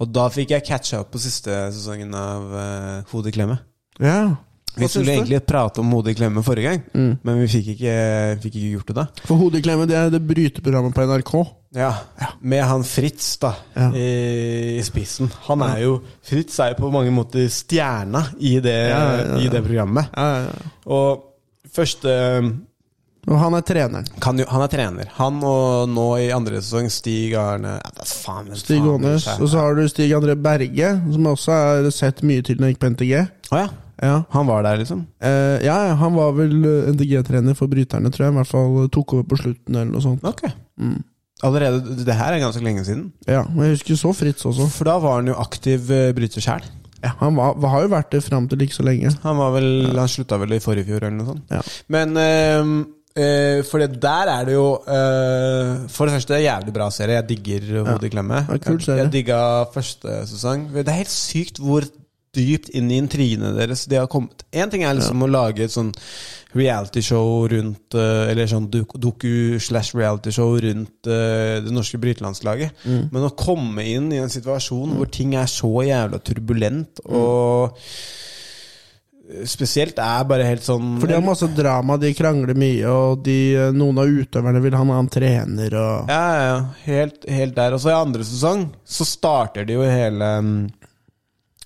[SPEAKER 2] Og da fikk jeg catcha opp på siste sesongen av eh, Hodeklemme.
[SPEAKER 3] Ja,
[SPEAKER 2] Vi
[SPEAKER 3] syns
[SPEAKER 2] skulle
[SPEAKER 3] du?
[SPEAKER 2] egentlig prate om Modig klemme forrige gang, men vi fikk ikke, fikk ikke gjort det da.
[SPEAKER 3] For Hodeklemme det er det bryteprogrammet på NRK.
[SPEAKER 2] Ja, Med han Fritz da
[SPEAKER 3] Ja.
[SPEAKER 2] i, i spissen. Han er jo Fritz er jo på mange måter stjerna i det,
[SPEAKER 3] Ja, ja, ja.
[SPEAKER 2] I det programmet. Og første um,
[SPEAKER 3] Og han er treneren.
[SPEAKER 2] kan jo, Han er trener. Han og nå i andre sesong Stig Arne ja, det er faen, hvem
[SPEAKER 3] Stig
[SPEAKER 2] faen
[SPEAKER 3] Aanes.
[SPEAKER 2] bryr seg?
[SPEAKER 3] Og så har du Stig André Berge, som også er sett mye til når han gikk på NTG.
[SPEAKER 2] Å ja.
[SPEAKER 3] Ja.
[SPEAKER 2] Han var der, liksom?
[SPEAKER 3] Eh, ja, ja, han var vel eh, NTG-trener for bryterne, tror jeg. I hvert fall eh, tok over på slutten, eller noe sånt.
[SPEAKER 2] Ok.
[SPEAKER 3] Mm.
[SPEAKER 2] Allerede, Det her er ganske lenge siden.
[SPEAKER 3] Ja, og Jeg husker så Fritz også.
[SPEAKER 2] For da var han jo aktiv eh, bryter sjæl.
[SPEAKER 3] Ja, han var, har jo vært det fram til ikke så lenge.
[SPEAKER 2] Han, var vel, han slutta vel i forrige fjor, eller noe sånt.
[SPEAKER 3] Ja.
[SPEAKER 2] Men eh, eh, For det der er det jo eh, For det første, det er jævlig bra serie. Jeg digger Hodet i klemme.
[SPEAKER 3] det er kul serie.
[SPEAKER 2] Jeg, jeg digga første sesong. Det er helt sykt hvor dypt inn i intrigene deres de har kommet. Én ting er liksom å lage et sånn realityshow rundt eh, Eller sånn duk- doku-slash-realityshow rundt eh, det norske brytelandslaget.
[SPEAKER 3] Mm.
[SPEAKER 2] Men å komme inn i en situasjon hvor ting er så jævla turbulent
[SPEAKER 3] Mm.
[SPEAKER 2] og Spesielt er bare helt sånn
[SPEAKER 3] For de har masse drama, de krangler mye, og de, eh, noen av utøverne vil ha en annen trener. Og...
[SPEAKER 2] Ja, ja, ja. Helt, helt der. Og så i andre sesong så starter de jo hele mm,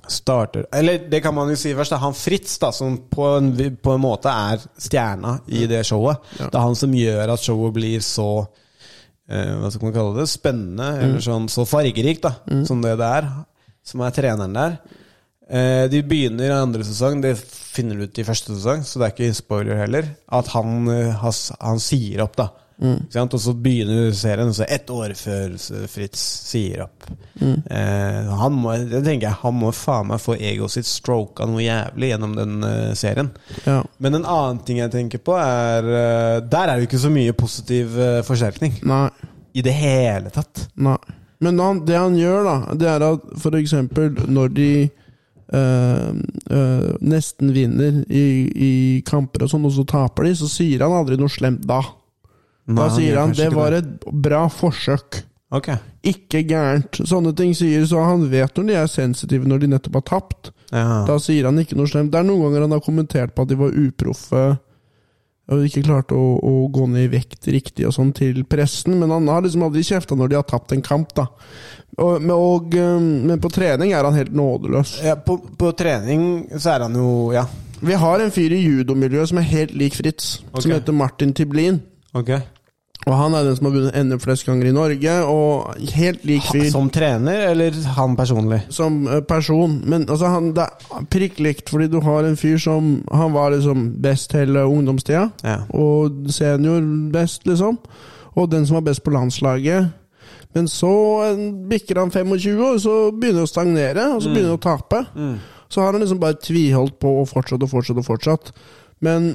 [SPEAKER 2] Starter Eller det kan man jo si først. Det er han Fritz da som på en, vi- på en måte er stjerna i det showet. Det er han som gjør at showet blir så eh, Hva skal man kalle det? Spennende, eller sånn så fargerikt da som det det er. Som er treneren der. Eh, de begynner i andre sesong, det finner du ut i første sesong, så det er ikke spoiler heller, at han, eh, has, han sier opp, da. Ikke sant? Og så begynner serien, og så ett år før så Fritz sier opp. Eh, han må, det tenker jeg, han må faen meg få egoet sitt stroka noe jævlig gjennom den eh, serien.
[SPEAKER 3] Ja.
[SPEAKER 2] Men en annen ting jeg tenker på, er eh, Der er det jo ikke så mye positiv eh, forsterkning.
[SPEAKER 3] Nei.
[SPEAKER 2] I det hele tatt.
[SPEAKER 3] Nei. Men han, det han gjør, da, det er at for eksempel når de eh, eh, nesten vinner i, i kamper og sånn, og så taper de, så sier han aldri noe slemt da. Da sier han 'det var et bra forsøk'.
[SPEAKER 2] Ok.
[SPEAKER 3] Ikke gærent. Sånne ting sier så han vet når de er sensitive når de nettopp har tapt.
[SPEAKER 2] Ja.
[SPEAKER 3] Da sier han ikke noe slemt. Det er noen ganger han har kommentert på at de var uproffe og ikke klarte å, å gå ned i vekt riktig og sånn til pressen, men han har liksom aldri kjefta når de har tapt en kamp, da. Og, men, og, øhm, men på trening er han helt nådeløs.
[SPEAKER 2] Ja, på, på trening så er han jo Ja.
[SPEAKER 3] Vi har en fyr i judomiljøet som er helt lik Fritz,
[SPEAKER 2] Ok.
[SPEAKER 3] som heter Martin Tiblin.
[SPEAKER 2] Ok.
[SPEAKER 3] Og han er den som har vunnet NM flest ganger i Norge, og helt lik
[SPEAKER 2] Ha,
[SPEAKER 3] fyr.
[SPEAKER 2] som trener, eller han personlig?
[SPEAKER 3] som eh, person, men altså han, det er prikk likt, fordi du har en fyr som Han var liksom best hele ungdomstida,
[SPEAKER 2] Ja.
[SPEAKER 3] og senior best, liksom. Og den som var best på landslaget. Men så eh, bikker han 25, og så begynner det å stagnere, og så begynner det å tape. Så har han liksom bare tviholdt på og fortsatt og fortsatt og fortsatt. Men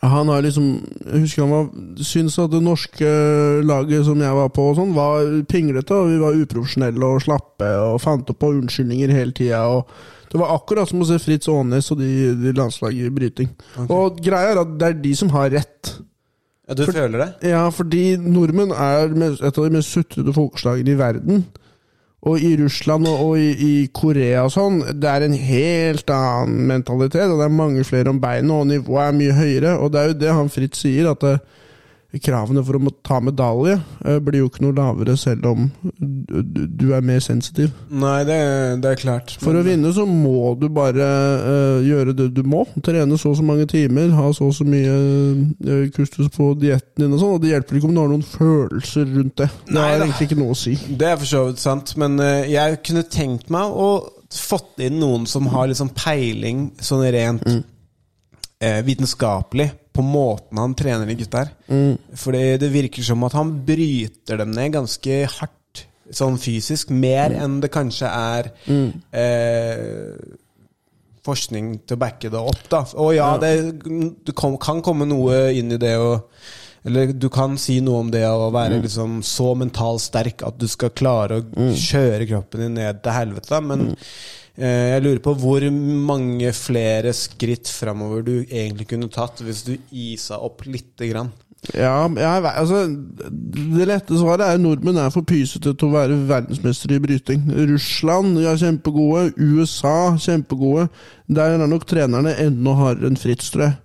[SPEAKER 3] han har liksom Jeg husker han var, syntes at det norske eh, laget som jeg var på, og sånn, var pinglete. og Vi var uprofesjonelle og slappe og fant opp på unnskyldninger hele tida. Det var akkurat som å se Fritz Aanes og de, de landslaget i bryting. Og greia er at det er de som har rett.
[SPEAKER 2] Ja, du føler det?
[SPEAKER 3] Ja, fordi nordmenn er med- et av de mest sutrete folkeslagene i verden. Og i Russland og, og i, i Korea og sånn, det er en helt annen mentalitet. Og det er mange flere om beinet, og nivået er mye høyere. Og det er jo det han Fritz sier, at det, kravene for å må- ta medalje eh, blir jo ikke noe lavere selv om du, du- du er mer sensitiv.
[SPEAKER 2] Nei, det, det er klart.
[SPEAKER 3] For å vinne så må du bare eh, gjøre det du må. Trene så og så mange timer, ha så og så mye eh, kustus på dietten din og sånn. Og det hjelper ikke om du har noen følelser rundt det. Det
[SPEAKER 2] Nei
[SPEAKER 3] har
[SPEAKER 2] da.
[SPEAKER 3] egentlig ikke noe å si.
[SPEAKER 2] Det er for så vidt sant, men eh, jeg kunne tenkt meg å fått inn noen som har liksom peiling sånn rent
[SPEAKER 3] Mm.
[SPEAKER 2] eh, vitenskapelig på måten han trener de gutta her.
[SPEAKER 3] Mm.
[SPEAKER 2] Fordi det virker som at han bryter dem ned ganske hardt, sånn fysisk, mer
[SPEAKER 3] Mm.
[SPEAKER 2] enn det kanskje er eh, forskning til å backe det opp. Da. Og ja, det, du kom, kan komme noe inn i det å Eller du kan si noe om det å være
[SPEAKER 3] Mm.
[SPEAKER 2] liksom, så mentalt sterk at du skal klare å kjøre kroppen din ned til helvete, men
[SPEAKER 3] Mm.
[SPEAKER 2] eh, jeg lurer på hvor mange flere skritt framover du egentlig kunne tatt hvis du isa opp lite grann.
[SPEAKER 3] Ja, jeg, ve- altså, det lette svaret er at nordmenn er for pysete til å være verdensmestere i bryting. Russland ja, kjempegode, USA kjempegode. Der er nok trenerne enda hardere enn Fritz, tror jeg.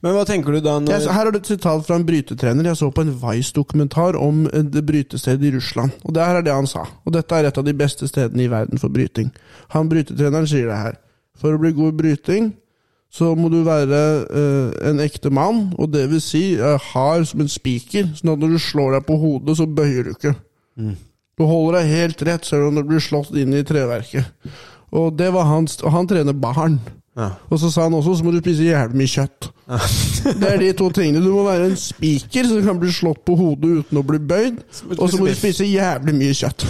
[SPEAKER 2] Men hva tenker du da
[SPEAKER 3] jeg.
[SPEAKER 2] når
[SPEAKER 3] så Her er det et sitat fra en brytetrener jeg så på en Vice-dokumentar om eh, det brytestedet i Russland. Og det her er det han sa. Og dette er et av de beste stedene i verden for bryting. Han brytetreneren sier det her. For å bli god i bryting så må du være eh, en ekte mann, og det vil si eh, hard som en spiker, sånn at når du slår deg på hodet, så bøyer du ikke. Du holder deg helt rett selv om du blir slått inn i treverket. Og det var hans, og han trener barn.
[SPEAKER 2] Ja.
[SPEAKER 3] Og så sa han også så må du spise jævlig mye kjøtt. det er de to tingene. Du må være en spiker som kan bli slått på hodet uten å bli bøyd, og så må du spise jævlig mye kjøtt.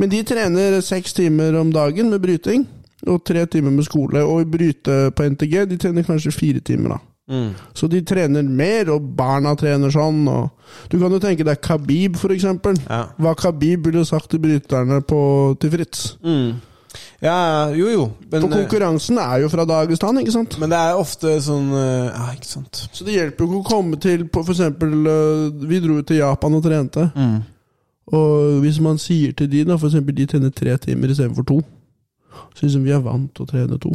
[SPEAKER 3] Men de trener seks timer om dagen med bryting, og tre timer med skole. Og i bryte på NTG de trener kanskje fire timer, da. Så de trener mer, og barna trener sånn. Og du kan jo tenke deg Khabib, for eksempel.
[SPEAKER 2] Ja.
[SPEAKER 3] Hva Khabib ville sagt til bryterne på, til Fritz.
[SPEAKER 2] Ja, jo, jo. Men, eh,
[SPEAKER 3] For konkurransen er jo fra Dagestan, ikke sant?
[SPEAKER 2] men det er ofte sånn eh, Ja, ikke sant.
[SPEAKER 3] Så det hjelper jo ikke å komme til på for eksempel øh, Vi dro jo til Japan og trente. Og hvis man sier til de, da, for eksempel de trener tre timer istedenfor to Så liksom vi er vant til å trene to.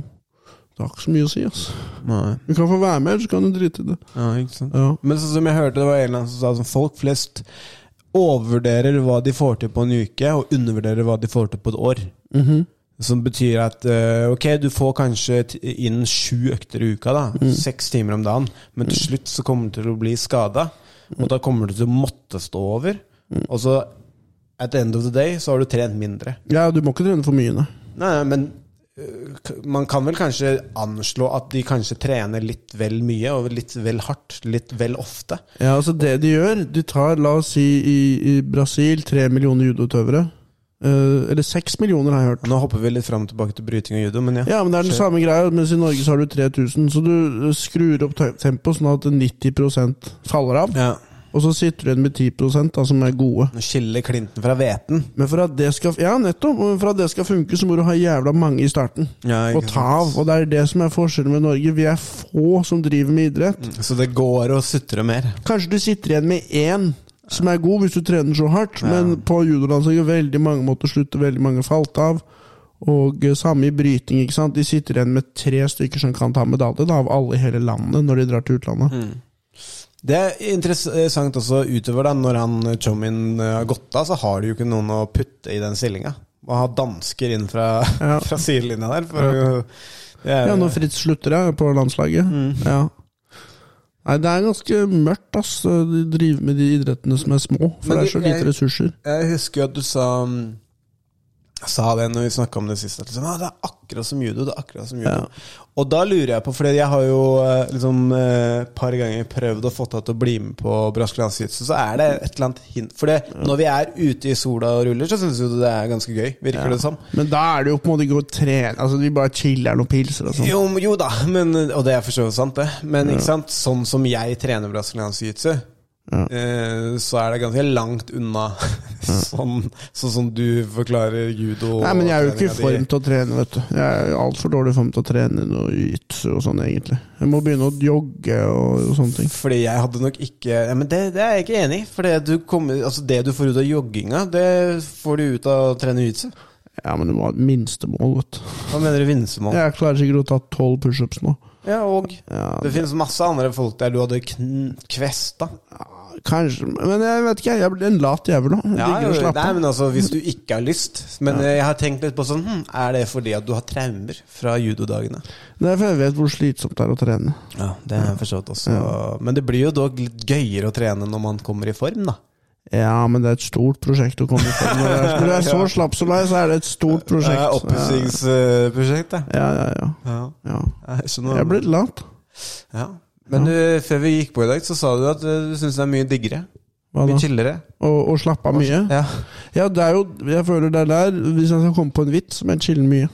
[SPEAKER 3] Det har ikke så mye å si, altså.
[SPEAKER 2] Nei,
[SPEAKER 3] Du kan få være med, eller så kan du drite i det.
[SPEAKER 2] ja, ikke sant.
[SPEAKER 3] Ja.
[SPEAKER 2] Men sånn som jeg hørte det var en eller annen som sa sånn, folk flest overvurderer hva de får til på en uke, og undervurderer hva de får til på et år. Som betyr at eh, ok, du får kanskje t- inn sju økter i uka, da. Seks timer om dagen. Men til slutt så kommer du til å bli skada, og da kommer du til å måtte stå over. Og så, at the end of the day, så har du trent mindre.
[SPEAKER 3] ja, du må ikke trene for mye, nei.
[SPEAKER 2] Nei, nei, men øh, k- man kan vel kanskje anslå at de kanskje trener litt vel mye og litt vel hardt, litt vel ofte.
[SPEAKER 3] Ja, altså det de gjør De tar, la oss si, i, i Brasil tre millioner judoutøvere. Eh, eller seks millioner, har jeg hørt.
[SPEAKER 2] Nå hopper vi litt fram og tilbake til bryting og judo, men ja.
[SPEAKER 3] Ja, men det er den samme greia, mens i Norge så har du 3000. Så du skrur opp te- tempoet sånn at 90 faller av.
[SPEAKER 2] Ja.
[SPEAKER 3] Og så sitter du igjen med 10 da, som er gode.
[SPEAKER 2] Nå skiller klinten fra hveten.
[SPEAKER 3] Men for at det skal Ja, nettopp. Men for at det skal funke, så må du ha jævla mange i starten.
[SPEAKER 2] Ja, ikke
[SPEAKER 3] og ta av. Og det er det som er forskjellen med Norge. Vi er få som driver med idrett.
[SPEAKER 2] Så det går å sutre mer.
[SPEAKER 3] Kanskje du sitter igjen med én som er god, hvis du trener så hardt, men på judolandslaget veldig mange måtte slutte, veldig mange falt av. Og eh, samme i bryting. ikke sant? De sitter igjen med tre stykker som kan ta medalje, da, av alle i hele landet, når de drar til utlandet.
[SPEAKER 2] Mm. Det er interessant også utover da, når han eh, Chomin eh, har gått av, så har de jo ikke noen å putte i den stillinga. Å ha dansker inn fra,
[SPEAKER 3] Ja.
[SPEAKER 2] fra sidelinja der. For, å- det er,
[SPEAKER 3] Ja, når Fritz slutter jeg på landslaget.
[SPEAKER 2] Mm.
[SPEAKER 3] Ja. Nei, det er ganske mørkt, ass. De driver med de idrettene som er små, for
[SPEAKER 2] Men
[SPEAKER 3] det er så
[SPEAKER 2] du, jeg-
[SPEAKER 3] lite ressurser.
[SPEAKER 2] Jeg husker jo at du sa mm, Sa det når vi snakka om det sist. At liksom, ah, det er akkurat som judo. det er akkurat som judo Og da lurer jeg på, for jeg har jo eh, liksom eh, par ganger prøvd å få deg til å bli med på brasiliansk jiu-jitsu, så er det et eller annet hint. For det, når vi er ute i sola og ruller, så syns jo du det er ganske gøy. Virker det som.
[SPEAKER 3] Men da er det jo på en måte ikke å trene Altså, vi bare chiller'n og pilser og sånn.
[SPEAKER 2] Jo, jo da, men, og det er for så vidt sant, det. Men ikke sant? sånn som jeg trener brasiliansk jiu-jitsu, eh, så er det ganske langt unna sånn, sånn som du forklarer judo.
[SPEAKER 3] Nei, men jeg er jo ikke i
[SPEAKER 2] treninga
[SPEAKER 3] form
[SPEAKER 2] di.
[SPEAKER 3] til å trene, vet du. Jeg er altfor dårlig i form til å trene noe jiu-jitsu og sånn, egentlig. Jeg må begynne å jogge og, og sånne ting.
[SPEAKER 2] Fordi jeg hadde nok ikke ja, Men det, det er jeg ikke enig i. For det du, kommer, altså det du får ut av jogginga, det får du ut av å trene jiu-jitsu.
[SPEAKER 3] Ja, men det var et minstemål, vet du.
[SPEAKER 2] Hva mener du vinsemål?
[SPEAKER 3] Jeg klarer sikkert å ta tolv pushups nå.
[SPEAKER 2] Ja, og
[SPEAKER 3] Ja,
[SPEAKER 2] Det finnes masse andre folk der du hadde kn- kvesta.
[SPEAKER 3] Kanskje Men jeg vet ikke, jeg blir en lat jævel nå. Jeg
[SPEAKER 2] Ja,
[SPEAKER 3] Ligger og
[SPEAKER 2] jo, nei,
[SPEAKER 3] slapper av.
[SPEAKER 2] men altså, hvis du ikke har lyst. Men eh, jeg har tenkt litt på sånn hm, Er det fordi at du har traumer fra judodagene?
[SPEAKER 3] Det er for jeg vet hvor slitsomt det er å trene.
[SPEAKER 2] Ja, det har jeg forstått også. Men det blir jo dog litt gøyere å trene når man kommer i form, da.
[SPEAKER 3] Ja, men det er et stort prosjekt å komme i form av. Når du er så slapp som meg, så er det et stort
[SPEAKER 2] Det
[SPEAKER 3] prosjekt.
[SPEAKER 2] er oppussingsprosjekt, det.
[SPEAKER 3] Ja, ja, ja.
[SPEAKER 2] Ja.
[SPEAKER 3] ja.
[SPEAKER 2] Jeg skjønner.
[SPEAKER 3] Jeg er blitt lat.
[SPEAKER 2] ja. Men du, før vi gikk på i dag, så sa du at eh, du syns det er mye diggere.
[SPEAKER 3] Hva
[SPEAKER 2] Mye
[SPEAKER 3] da?
[SPEAKER 2] chillere.
[SPEAKER 3] Og, og slappe av mye?
[SPEAKER 2] Ja.
[SPEAKER 3] Ja, det er jo Jeg føler det er der Hvis jeg skal komme på en vits, så må jeg chille mye.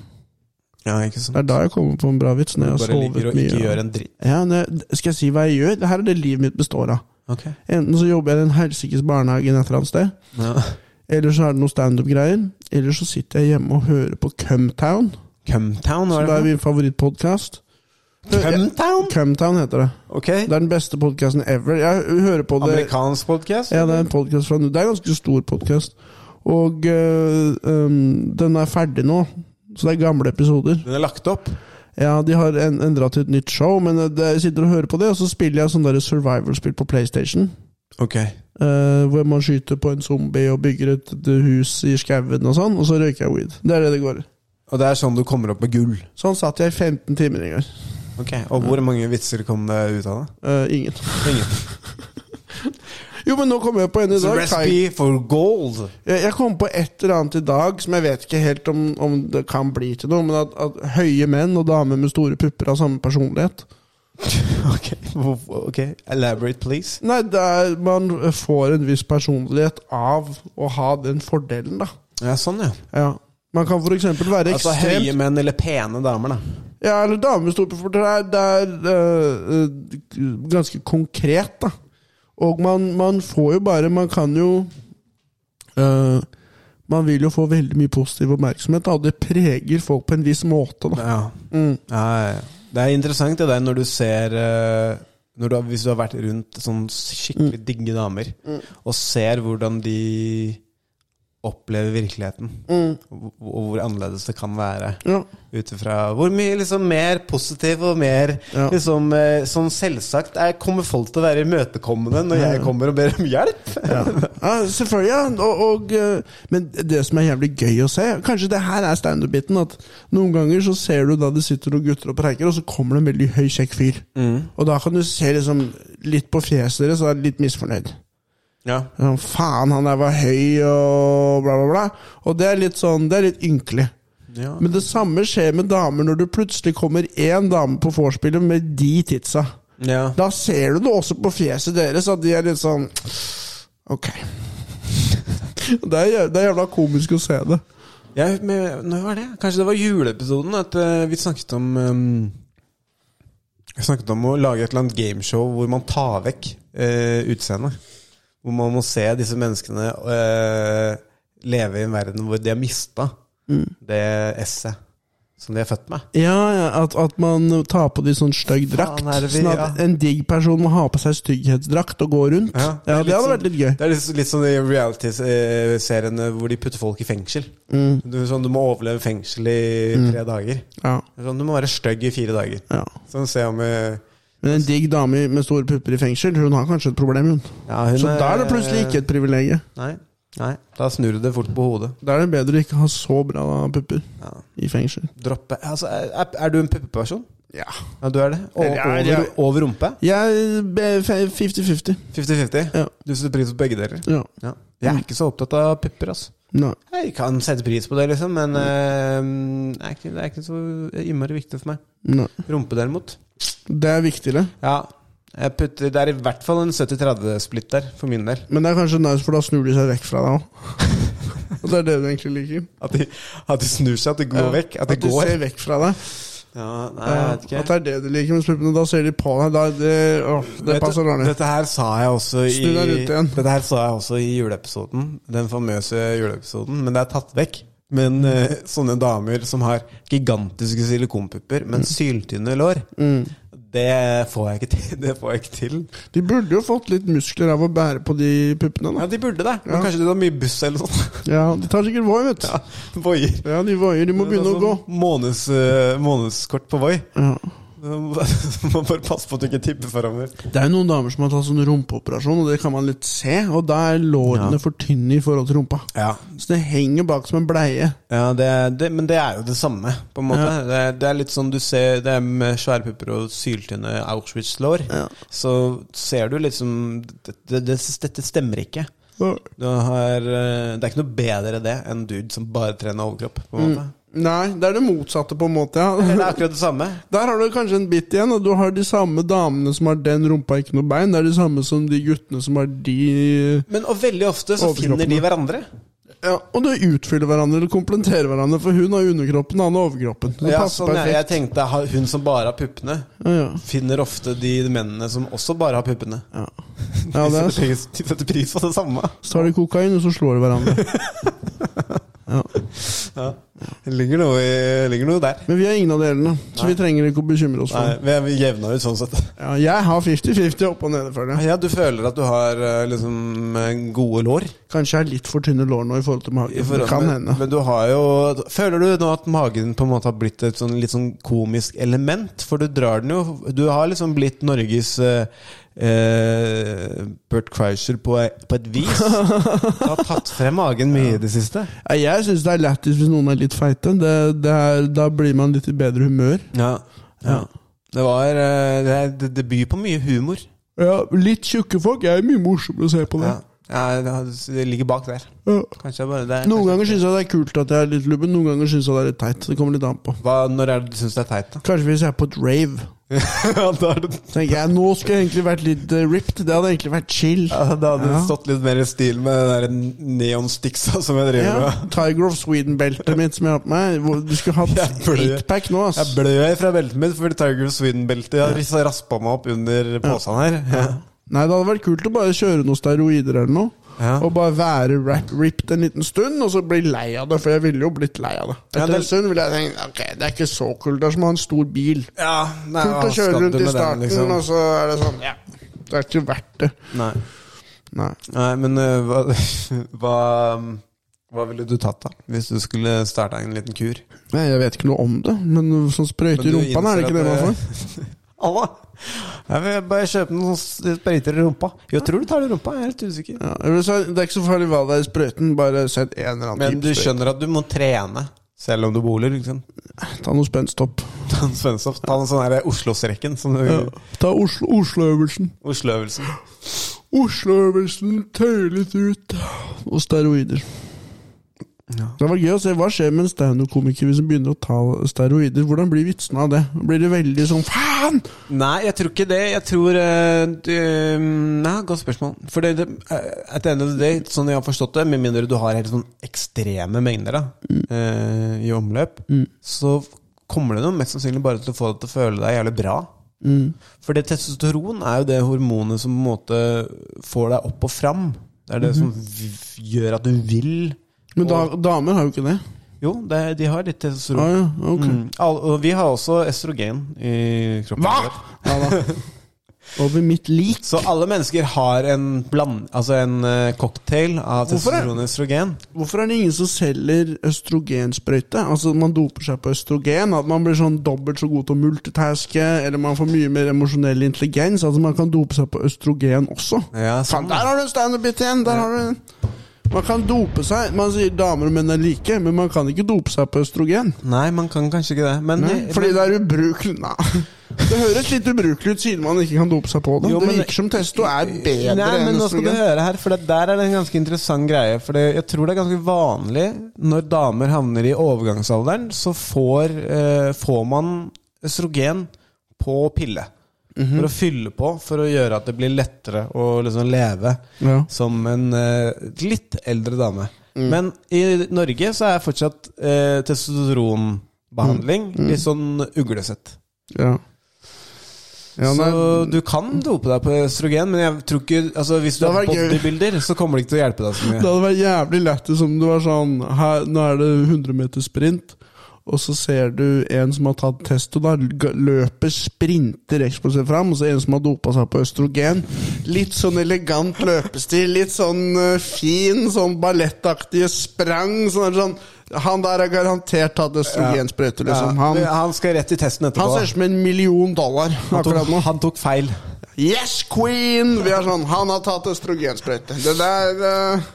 [SPEAKER 2] ja, ikke
[SPEAKER 3] Det
[SPEAKER 2] sant.
[SPEAKER 3] er da jeg kommer på en bra vits,
[SPEAKER 2] Du
[SPEAKER 3] når jeg har
[SPEAKER 2] bare
[SPEAKER 3] sovet
[SPEAKER 2] ligger og ikke gjør
[SPEAKER 3] mye.
[SPEAKER 2] en dritt.
[SPEAKER 3] Ja, men jeg- skal jeg si hva jeg gjør? Det her er det livet mitt består av.
[SPEAKER 2] Ok.
[SPEAKER 3] Enten så jobber jeg i en helsikes barnehage et eller annet sted,
[SPEAKER 2] Ja.
[SPEAKER 3] eller så er det noen standup-greier, eller så sitter jeg hjemme og hører på Cumtown,
[SPEAKER 2] Cumtown,
[SPEAKER 3] som
[SPEAKER 2] var
[SPEAKER 3] er
[SPEAKER 2] det?
[SPEAKER 3] min favorittpodkast.
[SPEAKER 2] Cumtown?
[SPEAKER 3] Cumtown heter det.
[SPEAKER 2] Ok.
[SPEAKER 3] Det er den beste podkasten ever. Jeg hører på det
[SPEAKER 2] Amerikansk podkast?
[SPEAKER 3] Ja, det er en podcast fra Det er en ganske stor podkast. Og øh, øhm, den er ferdig nå. Så det er gamle episoder.
[SPEAKER 2] Den er lagt opp?
[SPEAKER 3] Ja, De har en, endra til et nytt show, men øh, det, jeg sitter og hører på det. Og så spiller jeg sånn der survival-spill på PlayStation.
[SPEAKER 2] Ok.
[SPEAKER 3] øh, hvor man skyter på en zombie og bygger et, et hus i skauen og sånn. Og så røyker jeg weed. Det er det det går i.
[SPEAKER 2] Og det er sånn du kommer opp med gull?
[SPEAKER 3] Sånn satt jeg i 15 timer en gang.
[SPEAKER 2] Ok, Og hvor mange vitser kom det ut av det?
[SPEAKER 3] Øh, ingen.
[SPEAKER 2] Ingen.
[SPEAKER 3] Jo, men nå kom jeg på en i
[SPEAKER 2] It's a
[SPEAKER 3] dag. Kai-
[SPEAKER 2] recipe for gold.
[SPEAKER 3] Jeg, jeg kom på et eller annet i dag som jeg vet ikke helt om, om det kan bli til noe, men at, at høye menn og damer med store pupper har samme personlighet.
[SPEAKER 2] Ok, hvorfor- ok, Elaborate, please.
[SPEAKER 3] Nei, det er, man får en viss personlighet av å ha den fordelen, da.
[SPEAKER 2] Ja, Sånn, ja.
[SPEAKER 3] Ja. Man kan f.eks. være
[SPEAKER 2] Altså
[SPEAKER 3] ekstremt
[SPEAKER 2] Høye menn eller pene damer, da.
[SPEAKER 3] Ja, eller damer med store pupper. Det er, det er øh, øh, ganske konkret, da. Og man, man får jo bare Man kan jo øh, Man vil jo få veldig mye positiv oppmerksomhet, da, og det preger folk på en viss måte. da.
[SPEAKER 2] Ja.
[SPEAKER 3] Mm.
[SPEAKER 2] Ja, ja, ja. Det er interessant det der når du ser eh, når du har, Hvis du har vært rundt sånn skikkelig
[SPEAKER 3] Mm.
[SPEAKER 2] digge damer, og ser hvordan de opplever virkeligheten, og, og hvor annerledes det kan være.
[SPEAKER 3] Mm. Ja.
[SPEAKER 2] Ut ifra hvor mye liksom, mer positiv og mer
[SPEAKER 3] Ja.
[SPEAKER 2] liksom, eh, sånn selvsagt er, kommer folk til å være imøtekommende når jeg kommer og ber om hjelp.
[SPEAKER 3] Ja, selvfølgelig. ja. Og, og, øh, men det som er jævlig gøy å se Kanskje det her er standup-biten. At noen ganger så ser du da det sitter noen gutter og preiker, og så kommer det en veldig høy, kjekk fyr. Og da kan du se liksom litt på fjeset deres, og er litt misfornøyd.
[SPEAKER 2] Ja.
[SPEAKER 3] Sånn, faen, han der var høy og bla, bla, bla. Og det er litt sånn, det er litt ynkelig.
[SPEAKER 2] Ja.
[SPEAKER 3] Men det samme skjer med damer når du plutselig kommer én dame på vorspielet med de titsa.
[SPEAKER 2] Ja.
[SPEAKER 3] Da ser du det også på fjeset deres, at de er litt sånn Ok. Det er, jæv- det er jævla komisk å se det.
[SPEAKER 2] Jeg, men, når var det? Kanskje det var juleepisoden at eh, vi snakket om ehm, Vi snakket om å lage et eller annet gameshow hvor man tar vekk uh, utseendet. Hvor man må se disse menneskene eh, leve i en verden hvor de har mista
[SPEAKER 3] Mm.
[SPEAKER 2] det esset som de er født med.
[SPEAKER 3] Ja, ja at, at man tar på de sånn stygg drakt.
[SPEAKER 2] Faen, er det vi-
[SPEAKER 3] Sånn at en digg person må ha på seg stygghetsdrakt og gå rundt. Ja,
[SPEAKER 2] er
[SPEAKER 3] Det hadde
[SPEAKER 2] sånn-
[SPEAKER 3] vært litt gøy.
[SPEAKER 2] Det er litt, litt sånn i reality-seriene hvor de putter folk i fengsel.
[SPEAKER 3] Mm.
[SPEAKER 2] Du, sånn, du må overleve fengsel i tre dager.
[SPEAKER 3] Ja,
[SPEAKER 2] Sånn, du må være stygg i fire dager.
[SPEAKER 3] ja.
[SPEAKER 2] Sånn, se om eh,
[SPEAKER 3] Men en digg dame med store pupper i fengsel, hun har kanskje et problem, hun.
[SPEAKER 2] ja, hun
[SPEAKER 3] Så da er det
[SPEAKER 2] eh,
[SPEAKER 3] plutselig ikke et privilegium.
[SPEAKER 2] Nei, nei. Da snur du det fort på hodet.
[SPEAKER 3] Da er det bedre å ikke ha så bra pupper
[SPEAKER 2] Ja.
[SPEAKER 3] i fengsel.
[SPEAKER 2] Droppe altså, er, er du en puppeperson?
[SPEAKER 3] Ja.
[SPEAKER 2] Ja, du er det? Og,
[SPEAKER 3] Eller er jeg-
[SPEAKER 2] over, over rumpe?
[SPEAKER 3] Jeg eh, er 50-50.
[SPEAKER 2] 50-50?
[SPEAKER 3] Ja.
[SPEAKER 2] Du setter pris på begge deler?
[SPEAKER 3] Ja.
[SPEAKER 2] Ja. Jeg er ikke så opptatt av pupper, altså.
[SPEAKER 3] Nei.
[SPEAKER 2] Jeg kan sette pris på det, liksom, men eh, det, er ikke, det er ikke så innmari viktig for meg.
[SPEAKER 3] Nei.
[SPEAKER 2] Rumpe, derimot.
[SPEAKER 3] Det er viktigere.
[SPEAKER 2] Ja. Jeg putter, det er i hvert fall en 70-30-splitt der, for min del.
[SPEAKER 3] Men det er kanskje nice, for da snur de seg vekk fra deg òg. Og det er det du egentlig liker.
[SPEAKER 2] At de, at de snur seg, at de går vekk. At de
[SPEAKER 3] de
[SPEAKER 2] går.
[SPEAKER 3] ser vekk fra deg.
[SPEAKER 2] Ja, nei,
[SPEAKER 3] Ja,
[SPEAKER 2] jeg
[SPEAKER 3] at
[SPEAKER 2] vet
[SPEAKER 3] det
[SPEAKER 2] ikke.
[SPEAKER 3] er det du liker med puppene. Da ser de på deg. Da, er det, åh, det
[SPEAKER 2] Vet du,
[SPEAKER 3] passer dårlig.
[SPEAKER 2] Dette her sa jeg også i
[SPEAKER 3] Snu deg rundt igjen.
[SPEAKER 2] Dette her sa jeg også i juleepisoden. Den famøse juleepisoden. Men det er tatt vekk. Men eh, sånne damer som har gigantiske silikonpupper,
[SPEAKER 3] Mm.
[SPEAKER 2] men syltynne lår, det får jeg ikke til. Det får jeg ikke til.
[SPEAKER 3] De burde jo fått litt muskler av å bære på de puppene.
[SPEAKER 2] Ja,
[SPEAKER 3] Da.
[SPEAKER 2] de burde det. Men
[SPEAKER 3] Ja.
[SPEAKER 2] kanskje de har mye buss eller noe sånt.
[SPEAKER 3] Ja, De tar sikkert Voi, vet du.
[SPEAKER 2] Ja, sånn- Voier.
[SPEAKER 3] Ja, de voier. De må begynne å gå.
[SPEAKER 2] Måneds, eh, månedskort på Voi.
[SPEAKER 3] Ja.
[SPEAKER 2] Må bare passe på at du ikke tipper forover.
[SPEAKER 3] Det er jo noen damer som har tatt sånn rumpeoperasjon, og det kan man litt se. Og da er lårene
[SPEAKER 2] Ja.
[SPEAKER 3] for tynne i forhold til rumpa.
[SPEAKER 2] Ja,
[SPEAKER 3] Så det henger bak som en bleie.
[SPEAKER 2] Ja, det er, det, men det er jo det samme, på en måte. Det, er, det er litt sånn du ser Det er med svære pupper og syltynne Auschwitz-lår.
[SPEAKER 3] Ja.
[SPEAKER 2] Så ser du liksom det, det, det, Dette stemmer ikke.
[SPEAKER 3] Og-
[SPEAKER 2] Du har, eh, det er ikke noe bedre det enn dude som bare trener overkropp. På
[SPEAKER 3] Mm.
[SPEAKER 2] en måte.
[SPEAKER 3] Nei, det er det motsatte, på en måte. ja
[SPEAKER 2] Det er akkurat det samme.
[SPEAKER 3] Der har du kanskje en bit igjen, og du har de samme damene som har den rumpa, ikke noe bein. Det er de samme som de guttene som har de
[SPEAKER 2] Men og veldig ofte så
[SPEAKER 3] Overkroppen,
[SPEAKER 2] finner de
[SPEAKER 3] ja.
[SPEAKER 2] hverandre.
[SPEAKER 3] Ja, Og de utfyller hverandre eller komplementerer hverandre, for hun har underkroppen, han har overkroppen. Det
[SPEAKER 2] Ja,
[SPEAKER 3] passer
[SPEAKER 2] sånn, jeg, jeg
[SPEAKER 3] perfekt.
[SPEAKER 2] tenkte ha- Hun som bare har puppene,
[SPEAKER 3] Ja, ja.
[SPEAKER 2] finner ofte de mennene som også bare har puppene.
[SPEAKER 3] Ja. ja, det er
[SPEAKER 2] de, setter, de setter pris på det samme.
[SPEAKER 3] Så tar de kokain, og så slår de hverandre. Ja.
[SPEAKER 2] Ja, Det ligger noe, i- ligger noe der.
[SPEAKER 3] Men vi har ingen av delene, så vi trenger ikke å bekymre oss for
[SPEAKER 2] Nei,
[SPEAKER 3] det.
[SPEAKER 2] vi er- vi jevna ut sånn sett.
[SPEAKER 3] Ja, jeg har 50-50 opp og nede, føler jeg.
[SPEAKER 2] Ja, Du føler at du har eh, liksom eh, gode lår?
[SPEAKER 3] Kanskje jeg har litt for tynne lår nå i forhold til
[SPEAKER 2] I
[SPEAKER 3] magen.
[SPEAKER 2] forhold-
[SPEAKER 3] Det kan
[SPEAKER 2] men,
[SPEAKER 3] hende.
[SPEAKER 2] Men du har jo Føler du nå at magen på en måte har blitt et sånn, litt sånn komisk element? For du drar den jo Du har liksom blitt Norges eh, eh, Bert Kreischer på, e, på et vis. Du har tatt frem magen mye i det siste.
[SPEAKER 3] Ja, Jeg syns det er lættis hvis noen er litt feite. Det, det er, da blir man litt i bedre humør.
[SPEAKER 2] Ja, ja. Det var eh, det, er- det, det byr på mye humor.
[SPEAKER 3] Ja, Litt tjukke folk er mye morsommere å se på det.
[SPEAKER 2] Ja. Ja, det har- det ligger bak der.
[SPEAKER 3] Ja.
[SPEAKER 2] Kanskje bare det er-
[SPEAKER 3] Noen ganger syns jeg det er kult at jeg er litt lubben, noen ganger syns jeg det er litt teit. Det kommer litt an på.
[SPEAKER 2] Hva, Når er det du syns det er teit, da?
[SPEAKER 3] Kanskje hvis jeg er på et rave.
[SPEAKER 2] ja, da er det
[SPEAKER 3] Tenker jeg, Nå skulle jeg egentlig vært litt eh, ripped. Det hadde egentlig vært chill.
[SPEAKER 2] Ja, Da hadde det
[SPEAKER 3] Ja.
[SPEAKER 2] stått litt mer i stil med den der neonsticksa som jeg driver
[SPEAKER 3] Ja,
[SPEAKER 2] med.
[SPEAKER 3] Tiger of Sweden-beltet mitt som jeg har på meg. Hvor- Du skulle hatt
[SPEAKER 2] Jeg blør.
[SPEAKER 3] eightpack nå, ass.
[SPEAKER 2] Jeg blør fra beltet mitt fordi Tiger of Sweden-beltet Jeg har raspa meg opp under posen her. Ja.
[SPEAKER 3] Nei, det hadde vært kult å bare kjøre noen steroider eller noe.
[SPEAKER 2] Ja.
[SPEAKER 3] Og bare være rap ripped en liten stund, og så bli lei av det. For jeg ville jo blitt lei av det. Etter
[SPEAKER 2] Ja, det-
[SPEAKER 3] en stund ville jeg tenkt ok, det er ikke så kult. Det er som å ha en stor bil.
[SPEAKER 2] Ja, nei,
[SPEAKER 3] Kult å
[SPEAKER 2] hva skal
[SPEAKER 3] kjøre
[SPEAKER 2] du
[SPEAKER 3] rundt i
[SPEAKER 2] med den,
[SPEAKER 3] starten,
[SPEAKER 2] liksom?
[SPEAKER 3] og så er det sånn ja, Det er ikke verdt det.
[SPEAKER 2] Nei.
[SPEAKER 3] Nei.
[SPEAKER 2] nei, men øh, hva, hva Hva ville du tatt, da? Hvis du skulle starta en liten kur?
[SPEAKER 3] Nei, jeg vet ikke noe om det, men sånn sprøyte i
[SPEAKER 2] Men du
[SPEAKER 3] rumpa,
[SPEAKER 2] innser
[SPEAKER 3] er det ikke det
[SPEAKER 2] at
[SPEAKER 3] man
[SPEAKER 2] det-
[SPEAKER 3] får?
[SPEAKER 2] Alla! Jeg vil bare kjøpe noen sånne sprøyter i rumpa. Jeg tror du tar det i rumpa, jeg er litt usikker.
[SPEAKER 3] Ja, jeg vil si, det er ikke så farlig hva det er i sprøyten, bare sett en eller annen
[SPEAKER 2] Men du
[SPEAKER 3] type sprøyte.
[SPEAKER 2] skjønner at du må trene, selv om du boler, ikke sant?
[SPEAKER 3] Ta noe spenstopp.
[SPEAKER 2] Ta en Svensoft. Ta en sånn her Oslo-strekken. Som du,
[SPEAKER 3] Ja. Ta Oslo- Oslo-øvelsen.
[SPEAKER 2] Oslo-øvelsen.
[SPEAKER 3] Oslo-øvelsen tøyer litt ut. Og steroider. Det var gøy å se hva skjer med en standup-komiker hvis han begynner å ta steroider. Hvordan blir vitsene av det? Blir det veldig sånn faen?
[SPEAKER 2] Nei, jeg tror ikke det. Jeg tror eh, du, mm, Nei, godt spørsmål. For det, det, eh, at the end of the day, sånn jeg har forstått det, med mindre du har helt sånn ekstreme mengder da, eh, i omløp, så kommer det noe mest sannsynlig bare til å få deg til å føle deg jævlig bra. For det testosteron er jo det hormonet som på en måte får deg opp og fram. Det er det som v- gjør at du vil.
[SPEAKER 3] Men da, damer har jo ikke det.
[SPEAKER 2] Jo, det, de har litt testosteron.
[SPEAKER 3] Ah, ja, ok.
[SPEAKER 2] Mm. Al- Og vi har også estrogen i kroppen. vår.
[SPEAKER 3] Ja, da. Over mitt lik.
[SPEAKER 2] Så alle mennesker har en, bland, altså en eh, cocktail av
[SPEAKER 3] Hvorfor det?
[SPEAKER 2] testosteron og estrogen.
[SPEAKER 3] Hvorfor er det ingen som selger østrogensprøyte? Altså Man doper seg på østrogen. At man blir sånn dobbelt så god til å multitaske, eller man får mye mer emosjonell intelligens. Altså Man kan dope seg på østrogen også.
[SPEAKER 2] Ja,
[SPEAKER 3] Faen,
[SPEAKER 2] sånn.
[SPEAKER 3] der har du en standup-bit igjen! Der har du en. Man kan dope seg. Man sier damer og menn er like, men man kan ikke dope seg på østrogen.
[SPEAKER 2] Nei, man kan kanskje ikke det. Men,
[SPEAKER 3] Fordi det er ubrukelig Nei. Det høres litt ubrukelig ut siden man ikke kan dope seg på det.
[SPEAKER 2] Jo,
[SPEAKER 3] det
[SPEAKER 2] men-
[SPEAKER 3] virker som testo er bedre
[SPEAKER 2] Nei, men
[SPEAKER 3] enn
[SPEAKER 2] nå skal du
[SPEAKER 3] østrogen.
[SPEAKER 2] høre her, for det der er det en ganske interessant greie. For det, jeg tror det er ganske vanlig når damer havner i overgangsalderen, så får, eh, får man østrogen på pille.
[SPEAKER 3] Mhm.
[SPEAKER 2] For å fylle på, for å gjøre at det blir lettere å liksom leve
[SPEAKER 3] Ja.
[SPEAKER 2] som en eh, litt eldre dame.
[SPEAKER 3] Mm.
[SPEAKER 2] Men i Norge så er fortsatt eh, testosteronbehandling
[SPEAKER 3] Mm.
[SPEAKER 2] litt sånn uglesett.
[SPEAKER 3] Ja. Ja, nei,
[SPEAKER 2] Så du kan dope deg på østrogen, men jeg tror ikke altså, hvis du
[SPEAKER 3] Det
[SPEAKER 2] er
[SPEAKER 3] hadde vært gøy.
[SPEAKER 2] bodybuilder, så kommer det ikke til å hjelpe deg så
[SPEAKER 3] Det
[SPEAKER 2] mye.
[SPEAKER 3] hadde vært jævlig lættis om du var sånn her, Nå er det 100 meter sprint, og så ser du en som har tatt testo, da g- løper, sprinter eksplosivt fram, og så en som har dopa seg på østrogen. Litt sånn elegant løpestil, litt sånn eh, fin, sånn ballettaktige sprang. Sånn, sånn Han der er garantert tatt østrogensprøyte, liksom.
[SPEAKER 2] Ja,
[SPEAKER 3] Han,
[SPEAKER 2] han skal rett i testen etterpå.
[SPEAKER 3] han ser ut som en million dollar
[SPEAKER 2] Han tok,
[SPEAKER 3] akkurat nå.
[SPEAKER 2] han tok feil.
[SPEAKER 3] Yes, queen! Vi er sånn Han har tatt østrogensprøyte. Det der eh,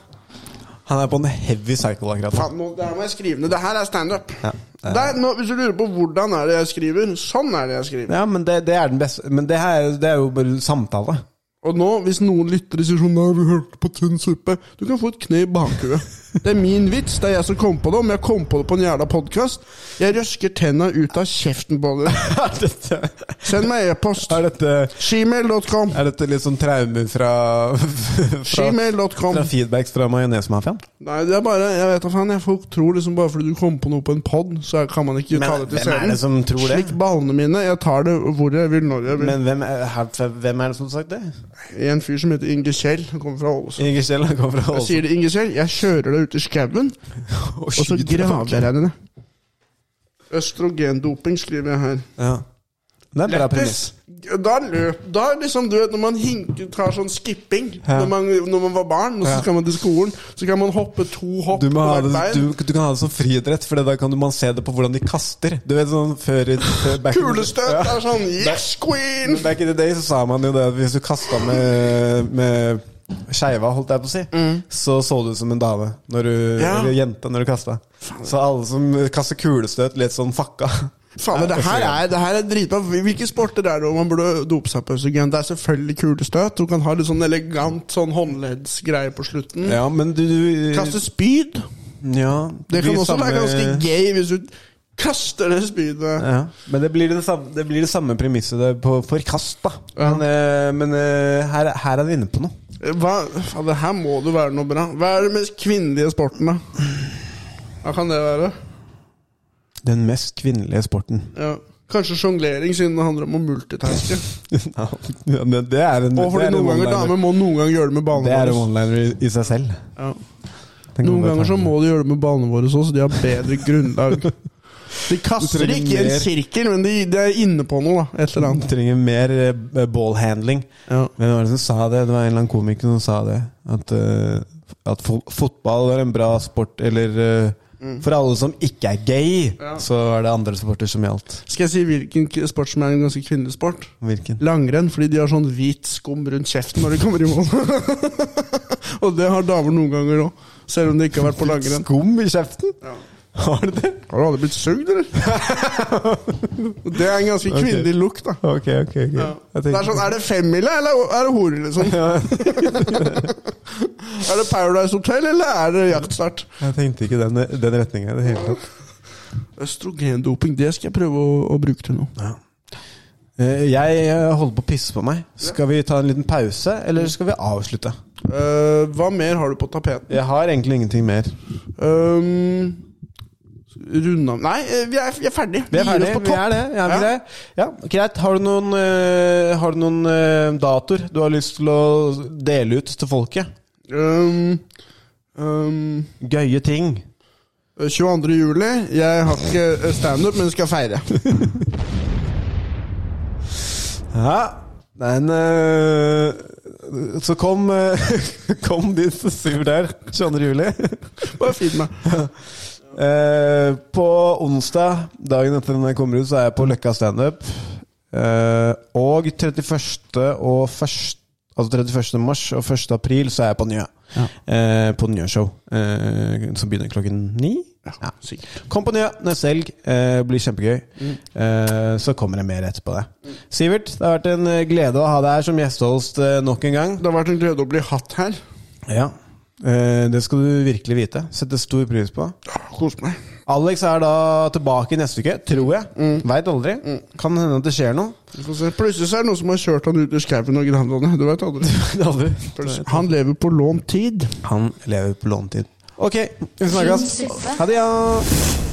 [SPEAKER 2] Han er på en heavy cycle akkurat nå.
[SPEAKER 3] Faen, nå, det her må jeg skrive ned. Det her er standup.
[SPEAKER 2] Ja, det er-
[SPEAKER 3] Der, nå, hvis du lurer på hvordan er det jeg skriver, sånn er det jeg skriver.
[SPEAKER 2] Ja, men det, det er den beste Men det, her, det er jo bare samtale.
[SPEAKER 3] Og nå, hvis noen lytter og sier sånn Nei, vi hørte på tynn suppe. Du kan få et kne i bakhuet. Det er min vits. Det er jeg som kom på det. Om jeg kom på det på en jævla podkast Jeg røsker tenna ut av kjeften på dere.
[SPEAKER 2] er, dette,
[SPEAKER 3] Send meg e-post.
[SPEAKER 2] er, dette,
[SPEAKER 3] Shemail.com.
[SPEAKER 2] er dette litt sånn traumer fra, fra,
[SPEAKER 3] Shemail.com.
[SPEAKER 2] fra feedbacks fra majonesmafiaen?
[SPEAKER 3] Nei, det er bare Jeg vet da faen. jeg, Folk tror liksom bare fordi du kom på noe på en pod, så er- kan man ikke
[SPEAKER 2] Men
[SPEAKER 3] ta det til
[SPEAKER 2] hvem er det som tror det?
[SPEAKER 3] Slik ballene mine. Jeg tar det hvor jeg vil, når jeg vil.
[SPEAKER 2] Men hvem er, her- hvem er det som har sagt det?
[SPEAKER 3] en fyr som heter Inge Kjell. Han kommer fra Ålesund.
[SPEAKER 2] Inge Kjell han kommer fra
[SPEAKER 3] Jeg
[SPEAKER 2] Ålesund.
[SPEAKER 3] sier det, Inge Kjell, jeg kjører deg ut i skauen,
[SPEAKER 2] Og
[SPEAKER 3] og så
[SPEAKER 2] skyter
[SPEAKER 3] graver
[SPEAKER 2] folk.
[SPEAKER 3] jeg deg ned. Østrogendoping, skriver jeg her.
[SPEAKER 2] Ja. Det er en bra premiss.
[SPEAKER 3] Lettest. Da løp Da er liksom, du vet, når man hinker, tar sånn skipping
[SPEAKER 2] Ja.
[SPEAKER 3] når, man, når man var barn, og så
[SPEAKER 2] Ja.
[SPEAKER 3] skal man til skolen, så kan man hoppe to hopp
[SPEAKER 2] Du, må ha
[SPEAKER 3] hvert
[SPEAKER 2] det, du, du kan ha det som friidrett, for da kan du, man se det på hvordan de kaster. Du vet sånn før, i- før back in-
[SPEAKER 3] Kulestøt
[SPEAKER 2] Ja.
[SPEAKER 3] er sånn Yes, queen!
[SPEAKER 2] Men Back in the day så sa man jo det at hvis du kasta med, med skeiva, holdt jeg på å si, så så du ut som en dame når du,
[SPEAKER 3] Ja.
[SPEAKER 2] eller jente når du kasta. Så alle som kaster kulestøt, litt sånn fucka.
[SPEAKER 3] Faen, men det her
[SPEAKER 2] Ja,
[SPEAKER 3] er, det her er dritbra. Hvilke sporter er det hvor man burde dope seg på østrogen? Det er selvfølgelig kulestøt. Du kan ha litt sånn elegant sånn håndleddsgreie på slutten.
[SPEAKER 2] Ja, men du, du
[SPEAKER 3] Kaste spyd.
[SPEAKER 2] ja,
[SPEAKER 3] Det kan
[SPEAKER 2] blir
[SPEAKER 3] også være
[SPEAKER 2] samme-
[SPEAKER 3] ganske gay hvis du kaster det spydet.
[SPEAKER 2] Ja, men det blir det samme, det blir det samme premisset det på, for kast, da. Men, eh, men eh, her, her er vi inne på noe.
[SPEAKER 3] Hva, faen, det her må det være noe bra. Hva er den mest kvinnelige sporten, da? Hva kan det være?
[SPEAKER 2] Den mest kvinnelige sporten.
[SPEAKER 3] Ja. Kanskje sjonglering, siden det handler om å multitaske.
[SPEAKER 2] ja, men det er en,
[SPEAKER 3] Og
[SPEAKER 2] det
[SPEAKER 3] fordi
[SPEAKER 2] er en
[SPEAKER 3] noen ganger
[SPEAKER 2] one-liner.
[SPEAKER 3] damer må noen ganger gjøre det med
[SPEAKER 2] Det er en
[SPEAKER 3] ballene våre.
[SPEAKER 2] one-liner i, i seg selv.
[SPEAKER 3] Ja.
[SPEAKER 2] Den kan
[SPEAKER 3] Noen
[SPEAKER 2] bare
[SPEAKER 3] ganger
[SPEAKER 2] ta
[SPEAKER 3] så
[SPEAKER 2] den.
[SPEAKER 3] må de gjøre det med ballene våre også, så de har bedre grunnlag. De kaster
[SPEAKER 2] Du trenger
[SPEAKER 3] ikke i en
[SPEAKER 2] mer.
[SPEAKER 3] sirkel, men de, de er inne på noe, da. Et eller
[SPEAKER 2] Du
[SPEAKER 3] annet.
[SPEAKER 2] trenger mer eh, b- ballhandling.
[SPEAKER 3] Ja.
[SPEAKER 2] Hvem var det som sa det? Det var en eller annen komiker som sa det. At, eh, at fo fotball er en bra sport, eller eh,
[SPEAKER 3] Mm.
[SPEAKER 2] For alle som ikke er gay, så er det andre sporter som gjaldt.
[SPEAKER 3] Skal jeg si hvilken k- sport som er en ganske kvinnelig sport?
[SPEAKER 2] Hvilken?
[SPEAKER 3] Langrenn, fordi de har sånn hvit skum rundt kjeften når de kommer i mål. Og det har damer noen ganger òg, selv om de ikke har vært på langrenn.
[SPEAKER 2] Skum i kjeften? Har du det?
[SPEAKER 3] Har du aldri blitt sugd, eller? det er en ganske
[SPEAKER 2] Ok.
[SPEAKER 3] kvinnelig look, da.
[SPEAKER 2] Ok, ok. ok
[SPEAKER 3] Ja.
[SPEAKER 2] Jeg
[SPEAKER 3] Det
[SPEAKER 2] tenker-
[SPEAKER 3] er sånn, er det femmile, eller er det hore, liksom? er det Paradise Hotel, eller er det jaktstart?
[SPEAKER 2] Jeg tenkte ikke den, den retninga i det hele tatt.
[SPEAKER 3] Østrogendoping, det skal jeg prøve å, å bruke til noe.
[SPEAKER 2] Eh, Jeg eh, holder på å pisse på meg. Skal vi ta en liten pause, eller skal vi avslutte?
[SPEAKER 3] Eh, hva mer har du på tapeten?
[SPEAKER 2] Jeg har egentlig ingenting mer.
[SPEAKER 3] Um, Runda Nei, eh, vi er, vi er ferdig.
[SPEAKER 2] Vi er
[SPEAKER 3] gir
[SPEAKER 2] ferdige.
[SPEAKER 3] oss på
[SPEAKER 2] Vi
[SPEAKER 3] topp.
[SPEAKER 2] er det. Ja, vi
[SPEAKER 3] Ja.
[SPEAKER 2] er. ja, greit. Har du noen, eh, har du noen eh, datoer du har lyst til å dele ut til folket?
[SPEAKER 3] Um, um,
[SPEAKER 2] Gøye ting.
[SPEAKER 3] 22. juli. Jeg har ikke eh, standup, men skal feire.
[SPEAKER 2] Ja, men eh, Så kom, eh, kom dit som syr der 22. juli.
[SPEAKER 3] Bare finn meg.
[SPEAKER 2] Eh, på onsdag, dagen etter den kommer ut, så er jeg på Løkka standup. Uh, og 31. og 1. Altså 31. mars og 1. april så er jeg på Njø. Eh, på Njø-show. Eh, som begynner klokken ni. Ja. Kom på Njø neste helg. Eh, blir kjempegøy.
[SPEAKER 3] Mm.
[SPEAKER 2] Eh, så kommer det mer etterpå det. Sivert, det har vært en eh, glede å ha deg her som gjestehost eh, nok en gang.
[SPEAKER 3] Det har vært en glede å bli hatt her.
[SPEAKER 2] Ja. Eh, det skal du virkelig vite. Setter stor pris på.
[SPEAKER 3] Kos meg.
[SPEAKER 2] Alex er da tilbake neste uke, tror jeg. Veit aldri. Kan hende at det skjer noe.
[SPEAKER 3] Vi får se. Plutselig så er det noen som har kjørt han ut i skauen og gravd han ned. Du vet aldri. Plutselig- Han lever på lånt tid.
[SPEAKER 2] Han lever på låntid. Ok, vi snakkes. Ha det, ja.